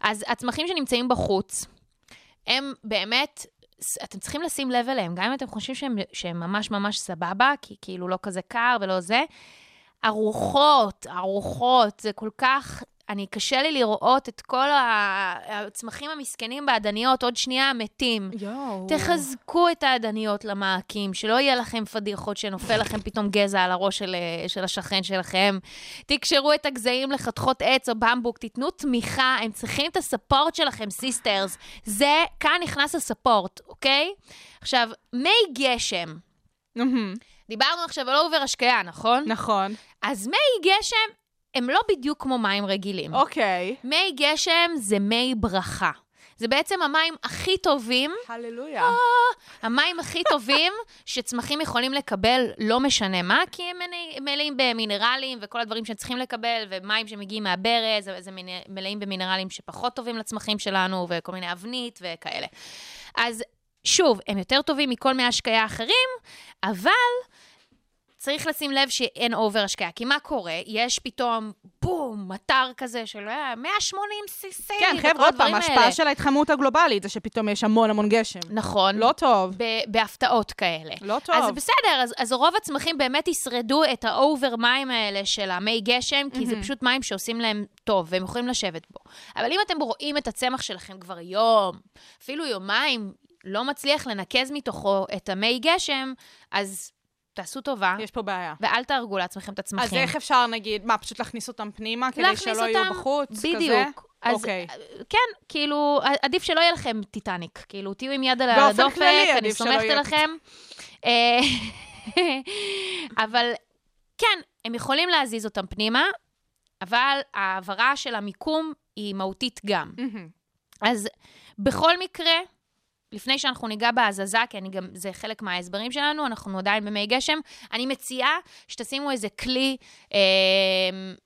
D: אז הצמחים שנמצאים בחוץ, הם באמת, אתם צריכים לשים לב אליהם, גם אם אתם חושבים שהם, שהם ממש ממש סבבה, כי כאילו לא כזה קר ולא זה, ארוחות, ארוחות, זה כל כך... אני, קשה לי לראות את כל ה- הצמחים המסכנים בעדניות, עוד שנייה מתים.
E: יואו.
D: תחזקו את העדניות למעקים, שלא יהיה לכם פדיחות שנופל לכם פתאום גזע על הראש של, אה, של השכן שלכם. תקשרו את הגזעים לחתכות עץ או במבוק, תיתנו תמיכה, הם צריכים את הספורט שלכם, סיסטרס. זה, כאן נכנס הספורט, אוקיי? עכשיו, מי גשם.
E: מהמם.
D: דיברנו עכשיו על אובר השקיה, נכון?
E: נכון.
D: אז מי גשם הם לא בדיוק כמו מים רגילים.
E: אוקיי.
D: מי גשם זה מי ברכה. זה בעצם המים הכי טובים
E: הללויה.
D: המים הכי טובים שצמחים יכולים לקבל, לא משנה מה, כי הם מלא- מלאים במינרלים וכל הדברים שהם צריכים לקבל, ומים שמגיעים מהברז, זה- זה מיני- מלאים במינרלים שפחות טובים לצמחים שלנו, וכל מיני אבנית וכאלה. אז שוב, הם יותר טובים מכל מי השקיה אחרים, אבל... צריך לשים לב שאין אובר השקיה, כי מה קורה? יש פתאום, בום, מטר כזה של אה, 180 סיסי,
E: כן, חבר'ה, עוד פעם, ההשפעה של ההתחממות הגלובלית זה שפתאום יש המון המון גשם.
D: נכון.
E: לא טוב.
D: ב- בהפתעות כאלה.
E: לא טוב.
D: אז בסדר, אז, אז רוב הצמחים באמת ישרדו את האובר מים האלה של המי גשם, כי
E: Mhm.
D: זה פשוט מים שעושים להם טוב, והם יכולים לשבת בו. אבל אם אתם רואים את הצמח שלכם כבר יום, אפילו יומיים, לא מצליח לנקז מתוכו את המי גשם, אז תעשו טובה,
E: יש פה בעיה.
D: ואל תהרגו לעצמכם את הצמחים.
E: אז איך אפשר, נגיד, מה, פשוט להכניס אותם פנימה כדי
D: נכון. להכניס
E: שלא יהיו
D: אותם,
E: בחוץ? כזה?
D: בדיוק. אז
E: אוקיי.
D: כן, כאילו, עדיף שלא יהיה לכם טיטניק. כאילו, תהיו עם יד על
E: באופן
D: הדופק,
E: כללי
D: אני
E: עדיף שלא
D: סומכת
E: יהיה
D: עליכם. אה, אבל כן, הם יכולים להזיז אותם פנימה, אבל ההעברה של המיקום היא מהותית גם.
E: מהמם.
D: אז בכל מקרה, לפני שאנחנו ניגע בהזזה, כי אני גם, זה חלק מההסברים שלנו, אנחנו עדיין במי גשם, אני מציעה שתשימו איזה כלי, אה,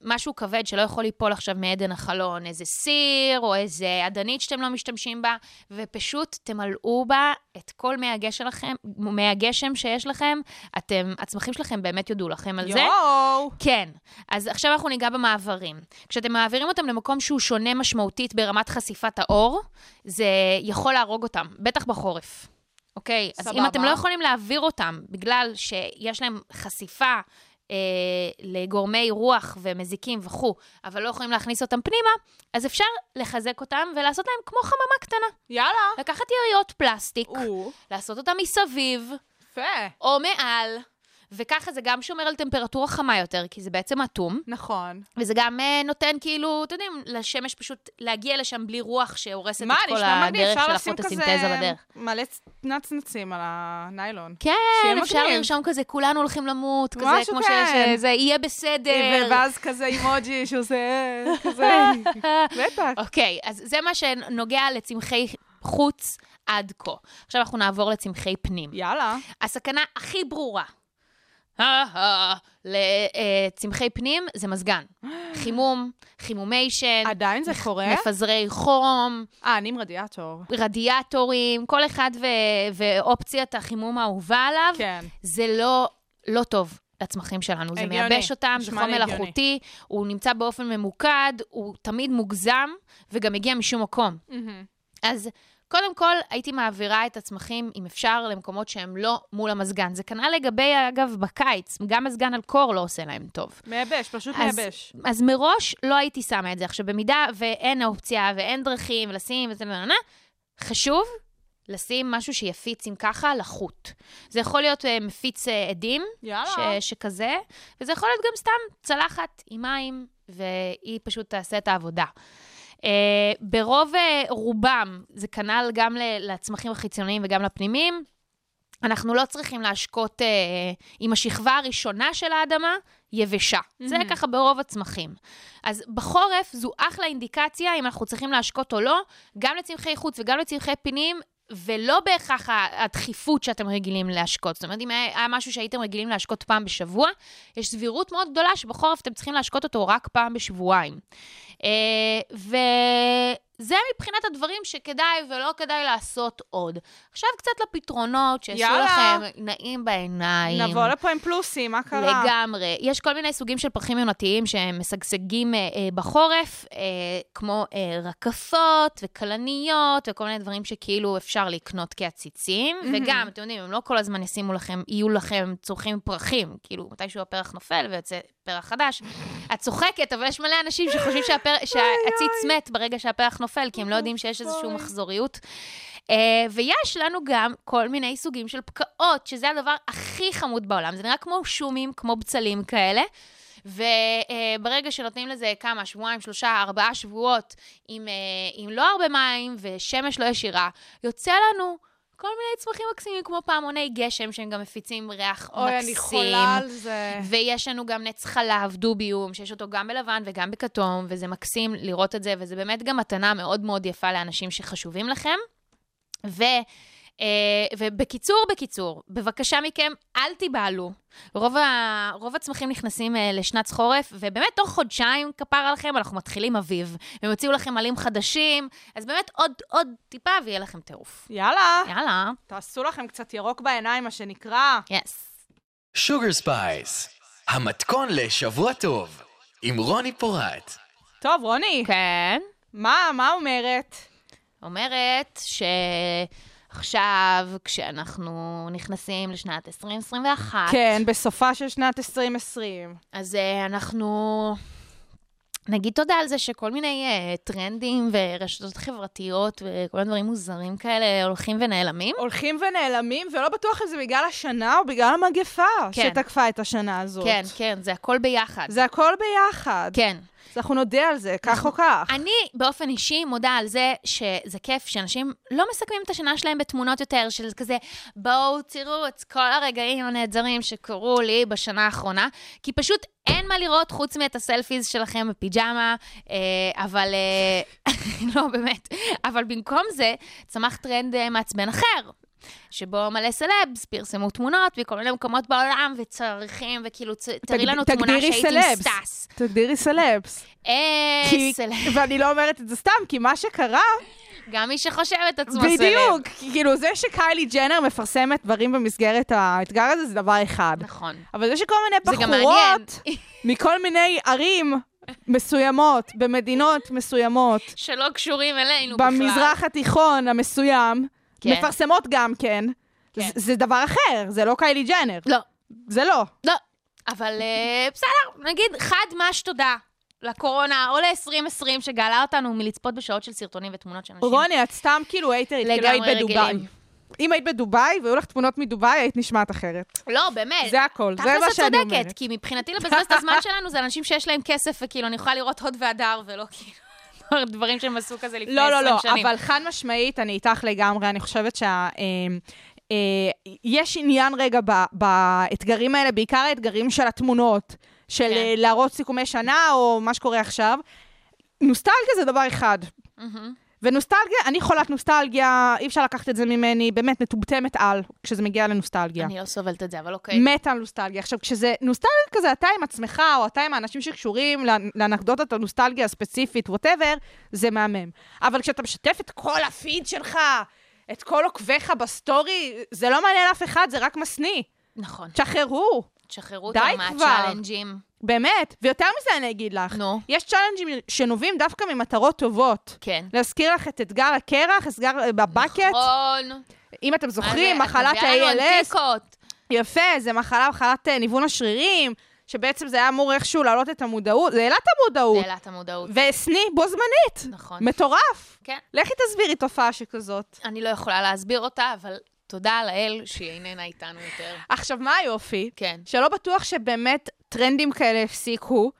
D: משהו כבד שלא יכול ליפול עכשיו מעדן החלון, איזה סיר או איזה עדנית שאתם לא משתמשים בה, ופשוט תמלאו בה את כל מי הגשם, לכם, מי הגשם שיש לכם. אתם, הצמחים שלכם באמת יודו לכם על זה.
E: יואו.
D: כן. אז עכשיו אנחנו ניגע במעברים. כשאתם מעבירים אותם למקום שהוא שונה משמעותית ברמת חשיפת האור, זה יכול להרוג אותם, בטח בחורף. אוקיי? סבבה. אז אם
E: סבבה.
D: אתם לא יכולים להעביר אותם בגלל שיש להם חשיפה אה, לגורמי רוח ומזיקים וכו', אבל לא יכולים להכניס אותם פנימה, אז אפשר לחזק אותם ולעשות להם כמו חממה קטנה.
E: יאללה.
D: לקחת יריות פלסטיק,
E: או,
D: לעשות אותם מסביב,
E: יפה.
D: או מעל, וככה זה גם שומר על טמפרטורה חמה יותר, כי זה בעצם אטום,
E: נכון.
D: וזה גם אה, נותן כאילו, אתם יודעים, לשמש פשוט להגיע לשם בלי רוח שהורסת את
E: מה,
D: כל
E: נשמע מדהים,
D: הדרך
E: אפשר
D: של
E: לשים כזה
D: הפוטוסינתזה בדרך.
E: מלא צ- נצנצים על הניילון.
D: כן,
E: שיהיה
D: אפשר
E: מגניב.
D: לרשום כזה, כולנו הולכים למות, כזה,
E: משהו
D: כמו
E: כן.
D: שיש, אה, זה יהיה בסדר.
E: ואז כזה אימוג'י שעושה אה, כזה, בטח.
D: אוקיי, אז זה מה שנוגע לצמחי חוץ עד כה. עכשיו אנחנו נעבור לצמחי פנים.
E: יאללה.
D: הסכנה הכי ברורה לצמחי אה, פנים זה מזגן. חימום, חימומיישן,
E: עדיין זה קורה?
D: מפזרי חום,
E: אה, אני עם רדיאטור.
D: רדיאטורים, כל אחד ו- ואופציית החימום האהובה עליו.
E: כן.
D: זה לא, לא טוב לצמחים שלנו. זה
E: הגיוני.
D: מייבש אותם, זה
E: נשמע
D: חום
E: לי הגיוני.
D: מלאכותי, הוא נמצא באופן ממוקד, הוא תמיד מוגזם, וגם מגיע משום מקום.
E: Mm-hmm.
D: אז קודם כל, הייתי מעבירה את הצמחים, אם אפשר, למקומות שהם לא מול המזגן. זה כנ"ל לגבי, אגב, בקיץ, גם מזגן על קור לא עושה להם טוב.
E: מייבש, פשוט
D: אז-
E: מייבש.
D: אז מראש לא הייתי שמה את זה. עכשיו, במידה ואין אופציה ואין דרכים לשים וזה וזה, חשוב לשים משהו שיפיץ אם ככה לחוט. זה יכול להיות אה, מפיץ אה, עדים,
E: יאללה.
D: ש, שכזה, וזה יכול להיות גם סתם צלחת עם מים, והיא פשוט תעשה את העבודה. Uh, ברוב uh, רובם, זה כנ"ל גם ל- לצמחים החיצוניים וגם לפנימיים, אנחנו לא צריכים להשקות uh, עם השכבה הראשונה של האדמה יבשה. Mm-hmm. זה ככה ברוב הצמחים. אז בחורף זו אחלה אינדיקציה אם אנחנו צריכים להשקות או לא, גם לצמחי חוץ וגם לצמחי פנים, ולא בהכרח ה- הדחיפות שאתם רגילים להשקות. זאת אומרת, אם היה היה משהו שהייתם רגילים להשקות פעם בשבוע, יש סבירות מאוד גדולה שבחורף אתם צריכים להשקות אותו רק פעם בשבועיים. אה, זה מבחינת הדברים שכדאי ולא כדאי לעשות עוד. עכשיו קצת לפתרונות שיעשו
E: יאללה.
D: לכם נעים בעיניים.
E: נבוא לפה עם פלוסים, מה קרה?
D: לגמרי. יש כל מיני סוגים של פרחים יונתיים שהם משגשגים אה, אה, בחורף, אה, כמו אה, רקפות וכלניות וכל מיני דברים שכאילו אפשר לקנות כעציצים. וגם, אתם יודעים, הם לא כל הזמן ישימו לכם, יהיו לכם צורכים פרחים. כאילו, מתישהו הפרח נופל ויוצא פרח חדש. את צוחקת, אבל יש מלא אנשים שחושבים שהפר... שהעציץ מת ברגע שהפרח נופל, כי הם לא יודעים שיש איזושהי מחזוריות. אה, ויש לנו גם כל מיני סוגים של פקעות, שזה הדבר הכי חמוד בעולם. זה נראה כמו שומים, כמו בצלים כאלה. וברגע שנותנים לזה כמה, שבועיים, שלושה, ארבעה שבועות, עם, אה, עם לא הרבה מים ושמש לא ישירה, יוצא לנו כל מיני צמחים מקסימים, כמו פעמוני גשם, שהם גם מפיצים ריח
E: אוי,
D: מקסים.
E: אני חולה על זה.
D: ויש לנו גם נץ חלב, דוביום, שיש אותו גם בלבן וגם בכתום, וזה מקסים לראות את זה, וזה באמת גם מתנה מאוד מאוד יפה לאנשים שחשובים לכם. ו... אה, ובקיצור, בקיצור, בבקשה מכם, אל תיבהלו. רוב, ה... רוב הצמחים נכנסים אה, לשנת חורף, ובאמת, תוך חודשיים, כפר עליכם, אנחנו מתחילים אביב. הם יוציאו לכם עלים חדשים, אז באמת עוד, עוד טיפה ויהיה לכם טירוף.
E: יאללה,
D: יאללה,
E: תעשו לכם קצת ירוק בעיניים, מה שנקרא.
D: יס.
C: שוגר ספייס, המתכון לשבוע טוב, עם רוני פורט.
E: טוב, רוני,
D: כן.
E: מה, מה אומרת?
D: אומרת שעכשיו, כשאנחנו נכנסים לשנת 2021,
E: כן, בסופה של שנת 2020.
D: אז אה, אנחנו נגיד תודה על זה שכל מיני אה, טרנדים ורשתות חברתיות וכל מיני דברים מוזרים כאלה הולכים ונעלמים.
E: הולכים ונעלמים, ולא בטוח אם זה בגלל השנה או בגלל המגפה
D: כן.
E: שתקפה את השנה הזאת.
D: כן, כן, זה הכל ביחד.
E: זה הכל ביחד.
D: כן.
E: אז אנחנו נודה על זה, כך או כך.
D: אני באופן אישי מודה על זה שזה כיף שאנשים לא מסכמים את השנה שלהם בתמונות יותר, של כזה, בואו תראו את כל הרגעים הנהדרים שקרו לי בשנה האחרונה, כי פשוט אין מה לראות חוץ מאת הסלפיז שלכם בפיג'מה, אה, אבל... אה, לא, באמת. אבל במקום זה, צמח טרנד אה, מעצבן אחר. שבו מלא סלבס פרסמו תמונות מכל מיני מקומות בעולם וצריכים, וכאילו, צ- תראי לנו
E: תגד-
D: תמונה
E: תגדירי
D: שהייתי עם
E: סלבס.
D: סטס.
E: תגדירי סלבס.
D: אה,
E: כי-
D: סלב.
E: ואני לא אומרת את זה סתם, כי מה שקרה,
D: גם מי שחושב את עצמו סלב.
E: בדיוק, כאילו זה שקיילי ג'נר מפרסמת דברים במסגרת האתגר הזה, זה דבר אחד.
D: נכון.
E: אבל זה שכל מיני
D: זה גם מעניין.
E: בחורות מכל מיני ערים מסוימות, במדינות מסוימות,
D: שלא קשורים אלינו בכלל.
E: במזרח התיכון המסוים,
D: כן.
E: מפרסמות גם כן.
D: כן.
E: זה- זה דבר אחר, זה לא קיילי ג'נר.
D: לא,
E: זה לא.
D: לא. אבל אה, בסדר, נגיד חד מש תודה לקורונה או ל-2020 שגאלה אותנו מלצפות בשעות של סרטונים ותמונות של אנשים.
E: רוני, את סתם כאילו הייטרית, כאילו היית
D: לגמרי
E: בדובאי.
D: רגילים.
E: אם היית בדובאי והיו לך תמונות מדובאי, היית נשמעת אחרת.
D: לא, באמת.
E: זה הכל, זה מה
D: תכלס את
E: שאני
D: צודקת,
E: אומרת.
D: כי מבחינתי לבזבז את הזמן שלנו זה אנשים שיש להם כסף, וכאילו אני יכולה לראות הוד והדר, ולא כאילו דברים שהם עשו כזה לפני 20
E: לא,
D: שנים.
E: לא, לא, אבל חד משמעית, אני איתך לגמרי, אני חושבת שה... אה, אה, יש עניין רגע ב- באתגרים האלה, בעיקר האתגרים של התמונות, של
D: כן.
E: אה, להראות סיכומי שנה או מה שקורה עכשיו. נוסטלגיה זה דבר אחד. ונוסטלגיה, אני חולת נוסטלגיה, אי אפשר לקחת את זה ממני, באמת מטומטמת על, כשזה מגיע לנוסטלגיה.
D: אני לא סובלת את זה, אבל אוקיי.
E: מתה על נוסטלגיה. עכשיו, כשזה נוסטלגיה כזה, אתה עם עצמך, או אתה עם האנשים שקשורים לאנ- לאנקדוטת הנוסטלגיה הספציפית, ווטאבר, זה מהמם. אבל כשאתה משתף את כל הפיד שלך, את כל עוקביך בסטורי, זה לא מעניין אף אחד, זה רק משניא.
D: נכון.
E: תשחררו,
D: תשחררו
E: די
D: אותם
E: כבר.
D: מהצ'אלנג'ים.
E: באמת. ויותר מזה אני אגיד לך.
D: נו.
E: יש צ'אלנג'ים שנובעים דווקא ממטרות טובות.
D: כן.
E: להזכיר לך את אתגר הקרח, אתגר אה, בבקט,
D: נכון. אה,
E: אם אתם זוכרים,
D: מה זה? את
E: מחלת
D: מביאה לנו
E: ה-ALS,
D: אנטיקות.
E: יפה, זה מחלה, מחלת אה, ניוון השרירים, שבעצם זה היה אמור איכשהו להעלות את המודעות, זה העלה את המודעות,
D: העלת המודעות.
E: והשניא בו זמנית.
D: נכון.
E: מטורף.
D: כן.
E: לכי תסבירי תופעה שכזאת.
D: אני לא יכולה להסביר אותה, אבל תודה לאל שהיא איננה איתנו יותר.
E: עכשיו, מה היופי?
D: כן.
E: שלא בטוח שבאמת טרנדים כאלה הפסיקו,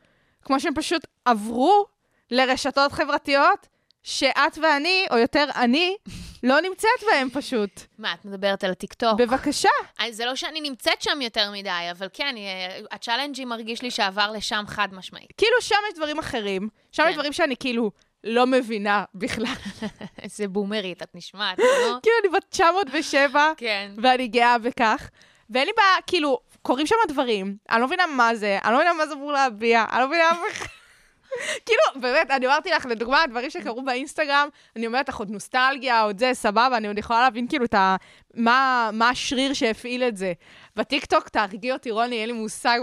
E: כמו שהם פשוט עברו לרשתות חברתיות, שאת ואני, או יותר אני, לא נמצאת בהם פשוט.
D: מה, את מדברת על הטיקטוק?
E: בבקשה.
D: אז זה לא שאני נמצאת שם יותר מדי, אבל כן, אה, הצ'אלנג'י מרגיש לי שעבר לשם חד משמעית.
E: כאילו, שם יש דברים אחרים, שם
D: כן.
E: יש דברים שאני כאילו לא מבינה בכלל.
D: איזה בומרית את נשמעת, לא?
E: כאילו, אני בת 907,
D: כן.
E: ואני גאה בכך. ואין לי בעיה, כאילו, קורים שם דברים, אני לא מבינה מה זה, אני לא מבינה מה זה אמור להביע, אני לא מבינה מה... כאילו, באמת, אני אמרתי לך, לדוגמה, הדברים שקרו באינסטגרם, אני אומרת לך, עוד נוסטלגיה, עוד זה, סבבה, אני עוד יכולה להבין כאילו את ה... מה, מה השריר שהפעיל את זה. בטיקטוק, תהרגי אותי, רוני, אין לי מושג.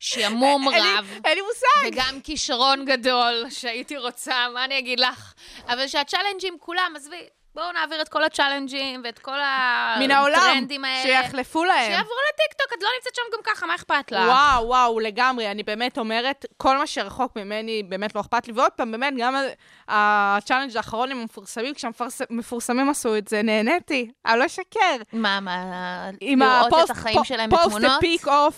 D: שעמום
E: אין לי-
D: רב.
E: אין לי מושג.
D: וגם כישרון גדול שהייתי רוצה, מה אני אגיד לך? אבל שהצ'אלנג'ים כולם, עזבי, בואו נעביר את כל הצ'אלנג'ים ואת כל
E: מן העולם,
D: הטרנדים האלה.
E: שיחלפו להם.
D: שיעברו לטיקטוק, את לא נמצאת שם גם ככה, מה אכפת לך?
E: וואו, וואו, לגמרי, אני באמת אומרת, כל מה שרחוק ממני באמת לא אכפת לי, ועוד פעם, באמת, גם ה- הצ'אלנג' האחרון עם המפורסמים, כשהמפורסמים עשו את זה, נהניתי, אני לא אשקר.
D: מה, מה,
E: עם
D: לראות
E: הפוסט,
D: את החיים שלהם
E: פוסט
D: בתמונות?
E: הפיק אוף.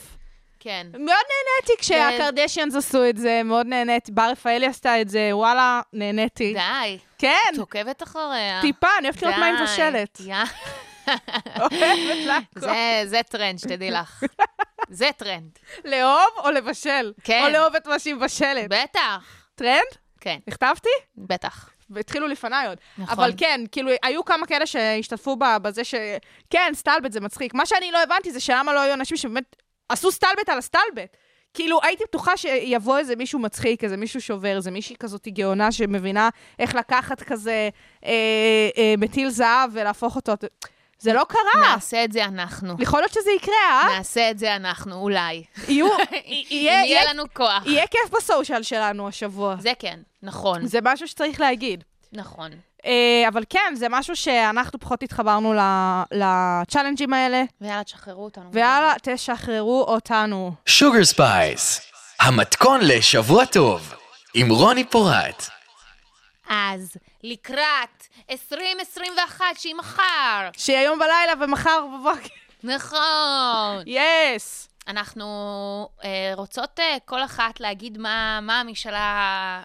D: כן.
E: מאוד נהניתי כשהקרדשיאנס עשו את זה, מאוד נהניתי, בר רפאלי עשתה את זה, וואלה, נהניתי.
D: די,
E: כן,
D: את עוקבת אחריה.
E: טיפה, אני אוהבת לראות
D: די.
E: מה היא מבשלת.
D: יא.
E: אוהבת לעקוב.
D: זה- זה טרנד, שתדעי לך. זה טרנד.
E: לאהוב או לבשל?
D: כן.
E: או לאהוב את מה שהיא מבשלת.
D: בטח.
E: טרנד?
D: כן,
E: נכתבתי?
D: בטח.
E: והתחילו לפניי עוד.
D: נכון.
E: אבל כן, כאילו, היו כמה כאלה שהשתתפו ב- בזה ש... כן, סטלבט זה מצחיק. מה שאני לא הבנתי זה שלמה לא היו אנשים שבאמת עשו סטלבט על הסטלבט. כאילו, הייתי בטוחה שיבוא איזה מישהו מצחיק, איזה מישהו שובר, איזה מישהי כזאת גאונה שמבינה איך לקחת כזה אה, אה, מטיל זהב ולהפוך אותו. זה לא קרה.
D: נעשה את זה אנחנו.
E: יכול להיות שזה יקרה, אה?
D: נעשה את זה אנחנו, אולי.
E: יהיו...
D: אם
E: יהיה-
D: יהיה
E: יהיה-
D: לנו כוח.
E: יהיה כיף בסושיאל שלנו השבוע.
D: זה כן, נכון,
E: זה משהו שצריך להגיד.
D: נכון.
E: אה, אבל כן, זה משהו שאנחנו פחות התחברנו ל- לצ'אלנג'ים האלה,
D: ויאללה, תשחררו אותנו.
E: ויאללה, תשחררו אותנו.
C: שוגר ספייס, המתכון לשבוע טוב, עם רוני פורט.
D: אז, לקראת 2021, שהיא מחר.
E: שהיא היום בלילה ומחר בבוקר.
D: נכון.
E: יס!
D: אנחנו אה, רוצות אה, כל אחת להגיד מה, מה המשאלה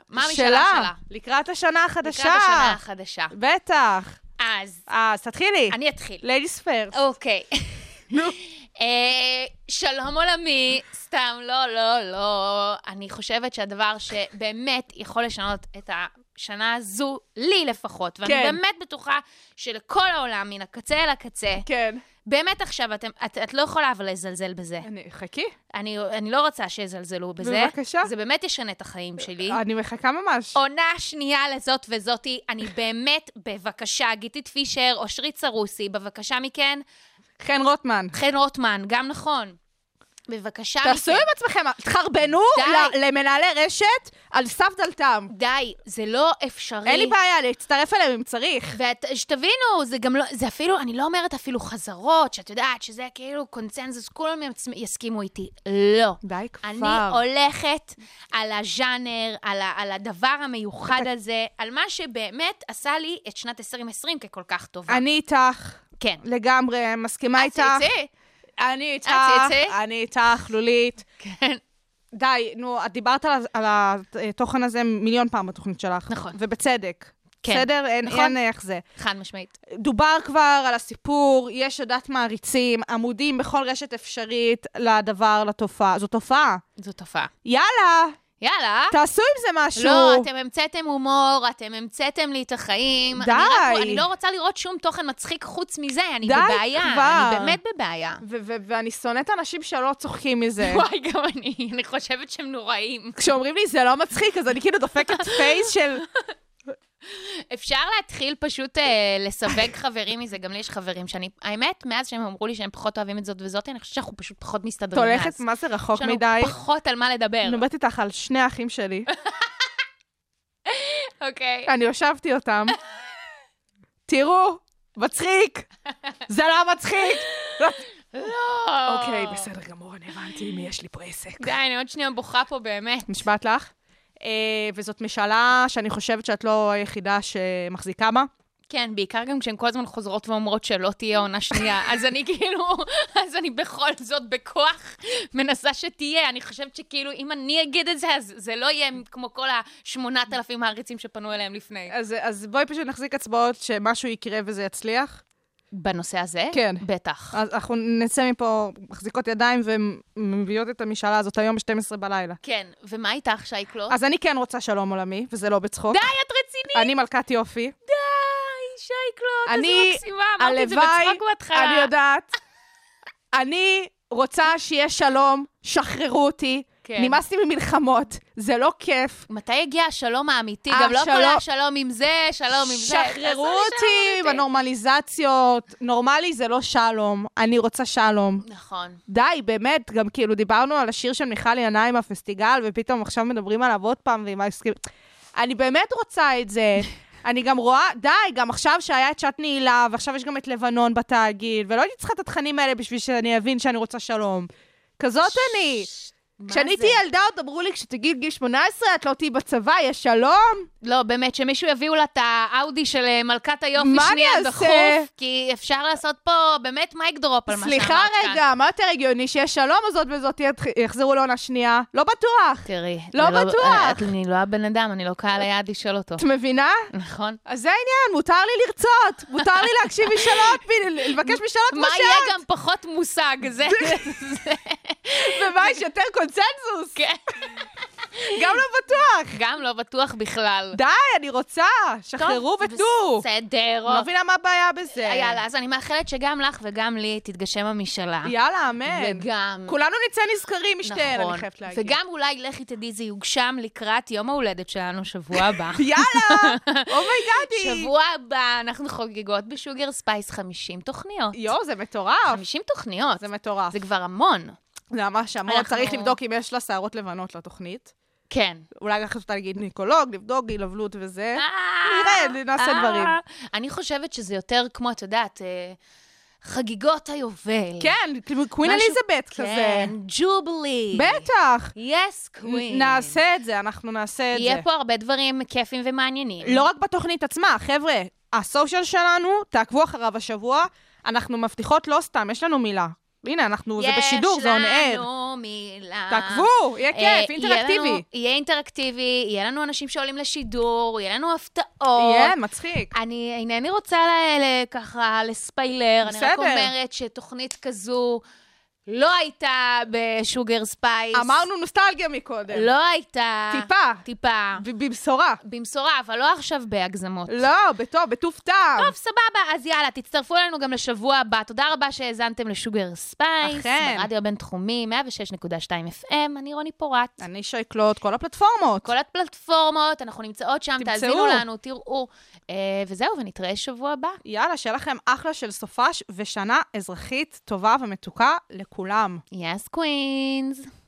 D: מה המשאלה שלה.
E: לקראת השנה החדשה.
D: לקראת השנה החדשה.
E: בטח.
D: אז,
E: אז תתחילי.
D: אני אתחיל.
E: ליידיס פרס.
D: אוקיי. אה, שלום עולמי, סתם, לא, לא, לא. אני חושבת שהדבר שבאמת יכול לשנות את השנה הזו, לי לפחות, ואני
E: כן.
D: באמת בטוחה שלכל העולם, מן הקצה אל הקצה,
E: כן.
D: באמת עכשיו, אתם- את את לא יכולה אבל לזלזל בזה.
E: אני, חכי.
D: אני אני לא רוצה שיזלזלו בזה.
E: בבקשה. אה,
D: זה באמת ישנה את החיים שלי.
E: אני מחכה ממש.
D: עונה שנייה לזאת וזאתי, אני באמת, בבקשה, גיתית פישר, אושרית סרוסי, בבקשה מכן,
E: חן רוטמן.
D: חן רוטמן, גם נכון. בבקשה מכן.
E: תעשו עם עצמכם, תחרבנו
D: די.
E: ל- למנהלי רשת על סף דלתם.
D: די, זה לא אפשרי.
E: אין לי בעיה להצטרף אליהם אם צריך.
D: ושתבינו, זה גם לא, זה אפילו, אני לא אומרת אפילו חזרות, שאת יודעת שזה כאילו קונצנזוס, כולם יצ- יסכימו איתי. לא.
E: די כבר.
D: אני הולכת על הז'אנר, על, ה- על הדבר המיוחד הזה, על מה שבאמת עשה לי את שנת 2020 ככל כך טובה.
E: אני איתך.
D: כן.
E: לגמרי,
D: אה,
E: מסכימה איתך.
D: ציצי?
E: אני איתך.
D: הציצי?
E: אני איתך, לולית.
D: כן.
E: די, נו, את דיברת על, ה- על התוכן הזה מיליון פעם בתוכנית שלך.
D: נכון.
E: ובצדק.
D: כן.
E: בסדר? אין,
D: נכון.
E: אין איך זה.
D: חד משמעית.
E: דובר כבר על הסיפור, יש עדת מעריצים, עמודים בכל רשת אפשרית לדבר, לתופעה. זו תופעה.
D: זו תופעה.
E: יאללה,
D: יאללה.
E: תעשו עם זה משהו.
D: לא, אתם המצאתם הומור, אתם המצאתם לי את החיים.
E: די.
D: אני, רק, אני לא רוצה לראות שום תוכן מצחיק חוץ מזה, אני
E: די
D: בבעיה.
E: כבר.
D: אני באמת בבעיה.
E: ו- ו- ואני שונאת אנשים שלא צוחקים מזה.
D: וואי, גם אני, אני חושבת שהם נוראים.
E: כשאומרים לי זה לא מצחיק, אז אני כאילו דופקת פייס של...
D: אפשר להתחיל פשוט אה, לסווג חברים מזה, גם לי יש חברים שאני, האמת, מאז שהם אמרו לי שהם פחות אוהבים את זאת וזאת, אני חושבת שאנחנו פשוט פחות
E: את
D: מסתדרים מאז.
E: הולכת, מה זה רחוק מדי?
D: יש לנו פחות על מה לדבר,
E: אני מדברת איתך על שני האחים שלי.
D: אוקיי?
E: אני הושבתי אותם. תראו, מצחיק! זה לא מצחיק!
D: לא.
E: אוקיי, בסדר גמור, אני הבנתי עם מי יש לי פה עסק.
D: די, אני עוד שנייה בוכה פה באמת.
E: נשבעת לך? אה, וזאת משאלה שאני חושבת שאת לא היחידה שמחזיקה בה.
D: כן, בעיקר גם כשהן כל הזמן חוזרות ואומרות שלא תהיה עונה שנייה, אז אני כאילו, אז אני בכל זאת בכוח מנסה שתהיה. אני חושבת שכאילו, אם אני אגיד את זה, אז זה לא יהיה כמו כל ה-8,000 מעריצים שפנו אליהם לפני.
E: אז- אז בואי פשוט נחזיק אצבעות שמשהו יקרה וזה יצליח.
D: בנושא הזה?
E: כן.
D: בטח.
E: אז אנחנו נצא מפה מחזיקות ידיים ומביאות את המשאלה הזאת היום ב-12 בלילה.
D: כן, ומה איתך, שייקלו?
E: אז אני כן רוצה שלום עולמי, וזה לא בצחוק.
D: די, את רצינית!
E: אני מלכת יופי.
D: די, שייקלו, את איזה
E: אני-
D: מקסימה, אמרתי את זה בצחוק בהתחלה.
E: אני יודעת. אני רוצה שיהיה שלום, שחררו אותי.
D: כן.
E: כן. נמאס לי ממלחמות, זה לא כיף.
D: מתי יגיע השלום האמיתי?
E: אה,
D: גם לא כל
E: שלום.
D: השלום עם זה, שלום עם לא, זה. תעשו
E: שחררו
D: לי
E: אותי
D: שלום אמיתי.
E: בנורמליזציות. נורמלי זה לא שלום, אני רוצה שלום.
D: נכון.
E: די, באמת, גם כאילו דיברנו על השיר של מיכל ינאי מהפסטיגל, ופתאום עכשיו מדברים עליו עוד פעם, ועם ההסכם... אני באמת רוצה את זה. אני גם רואה, די, גם עכשיו שהיה את שעת נעילה, ועכשיו יש גם את לבנון בתאגיד, ולא הייתי צריכה את התכנים האלה בשביל שאני אבין שאני רוצה שלום. כזאת אני.
D: מה
E: לא כשאני
D: זה?
E: הייתי ילדה עוד אמרו לי, כשתגיעי גיל 18 את לא תהיי בצבא, יש שלום.
D: לא, באמת, שמישהו יביאו לה את האאודי של אה, מלכת היופי
E: מה אני
D: שנייה
E: אעשה?
D: דחוף, כי אפשר לעשות פה באמת מייק דרופ על מה שאמרת כאן.
E: סליחה רגע, מה יותר הגיוני שיש שלום, אז זאת וזאת תהיה- יחזרו לעונה שנייה? לא בטוח.
D: תראי, אה,
E: לא
D: אני
E: בטוח. אה,
D: אני לא הבן אדם, אני לא קהל היעד לשאול אותו.
E: את מבינה?
D: נכון?
E: אז זה העניין, מותר לי לרצות, מותר לי להקשיב משאלות, ב- לבקש משאלות כמו
D: מה יהיה
E: שאת,
D: גם פחות מושג, זה... זה-
E: ומה יש יותר קונצנזוס,
D: כן,
E: גם לא בטוח.
D: גם לא בטוח בכלל.
E: די, אני רוצה, שחררו
D: טוב,
E: ותנו.
D: בסדר. אוקיי,
E: לא מבינה מה הבעיה בזה.
D: יאללה, אז אני מאחלת שגם לך וגם לי תתגשם המשאלה.
E: יאללה, אמן.
D: וגם... נכון.
E: כולנו נצא נזכרים משתיהן, אני חייבת להגיד.
D: וגם אולי, לכי תדעי, זה יוגשם לקראת יום ההולדת שלנו, שבוע הבא.
E: יאללה, Oh אומייגאדי.
D: שבוע הבא אנחנו חוגגות בשוגר ספייס 50 תוכניות.
E: יואו, זה מטורף.
D: 50 תוכניות.
E: זה מטורף.
D: זה כבר המון.
E: זה ממש המון.
D: אנחנו-
E: צריך לבדוק אם יש לה שערות לבנות לתוכנית.
D: כן.
E: אולי לקחת אותה לגינקולוג, לבדוק גילבלות וזה.
D: אה,
E: נראה, נעשה
D: אה.
E: דברים.
D: אני חושבת שזה יותר כמו, את יודעת, אה, חגיגות היובל.
E: כן, כאילו קווין
D: משהו-
E: אליזבת כזה.
D: כן, ג'ובלי.
E: בטח.
D: יס, קווין.
E: נעשה את זה, אנחנו נעשה את
D: יהיה
E: זה.
D: פה הרבה דברים כיפים ומעניינים.
E: לא רק בתוכנית עצמה, חבר'ה, הסושיאל שלנו, תעקבו אחריו השבוע, אנחנו מבטיחות לא סתם, יש לנו מילה. הנה, אנחנו, זה בשידור, זה on
D: יש
E: air.
D: לנו מילה.
E: תעקבו, יהיה
D: אה, יהיה
E: כיף, אינטראקטיבי.
D: לנו- יהיה אינטראקטיבי, יהיה לנו אנשים שעולים לשידור, יהיה לנו הפתעות.
E: יהיה, מצחיק.
D: אני אינני רוצה ל- ל- ככה לספיילר, אני רק
E: בסדר.
D: אומרת שתוכנית כזו לא הייתה בשוגר ספייס.
E: אמרנו נוסטלגיה מקודם.
D: לא הייתה.
E: טיפה.
D: טיפה.
E: ב- בבשורה.
D: במשורה, אבל לא עכשיו בהגזמות.
E: לא, בטוב, בטוב טעם.
D: טוב, סבבה, אז יאללה, תצטרפו אלינו גם לשבוע הבא. תודה רבה שהאזנתם לשוגר ספייס.
E: אכן.
D: ברדיו הבינתחומי, 106.2 FM, אני רוני פורט.
E: אני שייקלוט כל הפלטפורמות.
D: כל הפלטפורמות, אנחנו נמצאות שם,
E: תמצאו.
D: תאזינו לנו, תראו. אה, וזהו, ונתראה שבוע הבא.
E: יאללה, שיהיה לכם אחלה של סופש ושנה אזרחית טובה ומתוקה לכולם.
D: יס קווינס.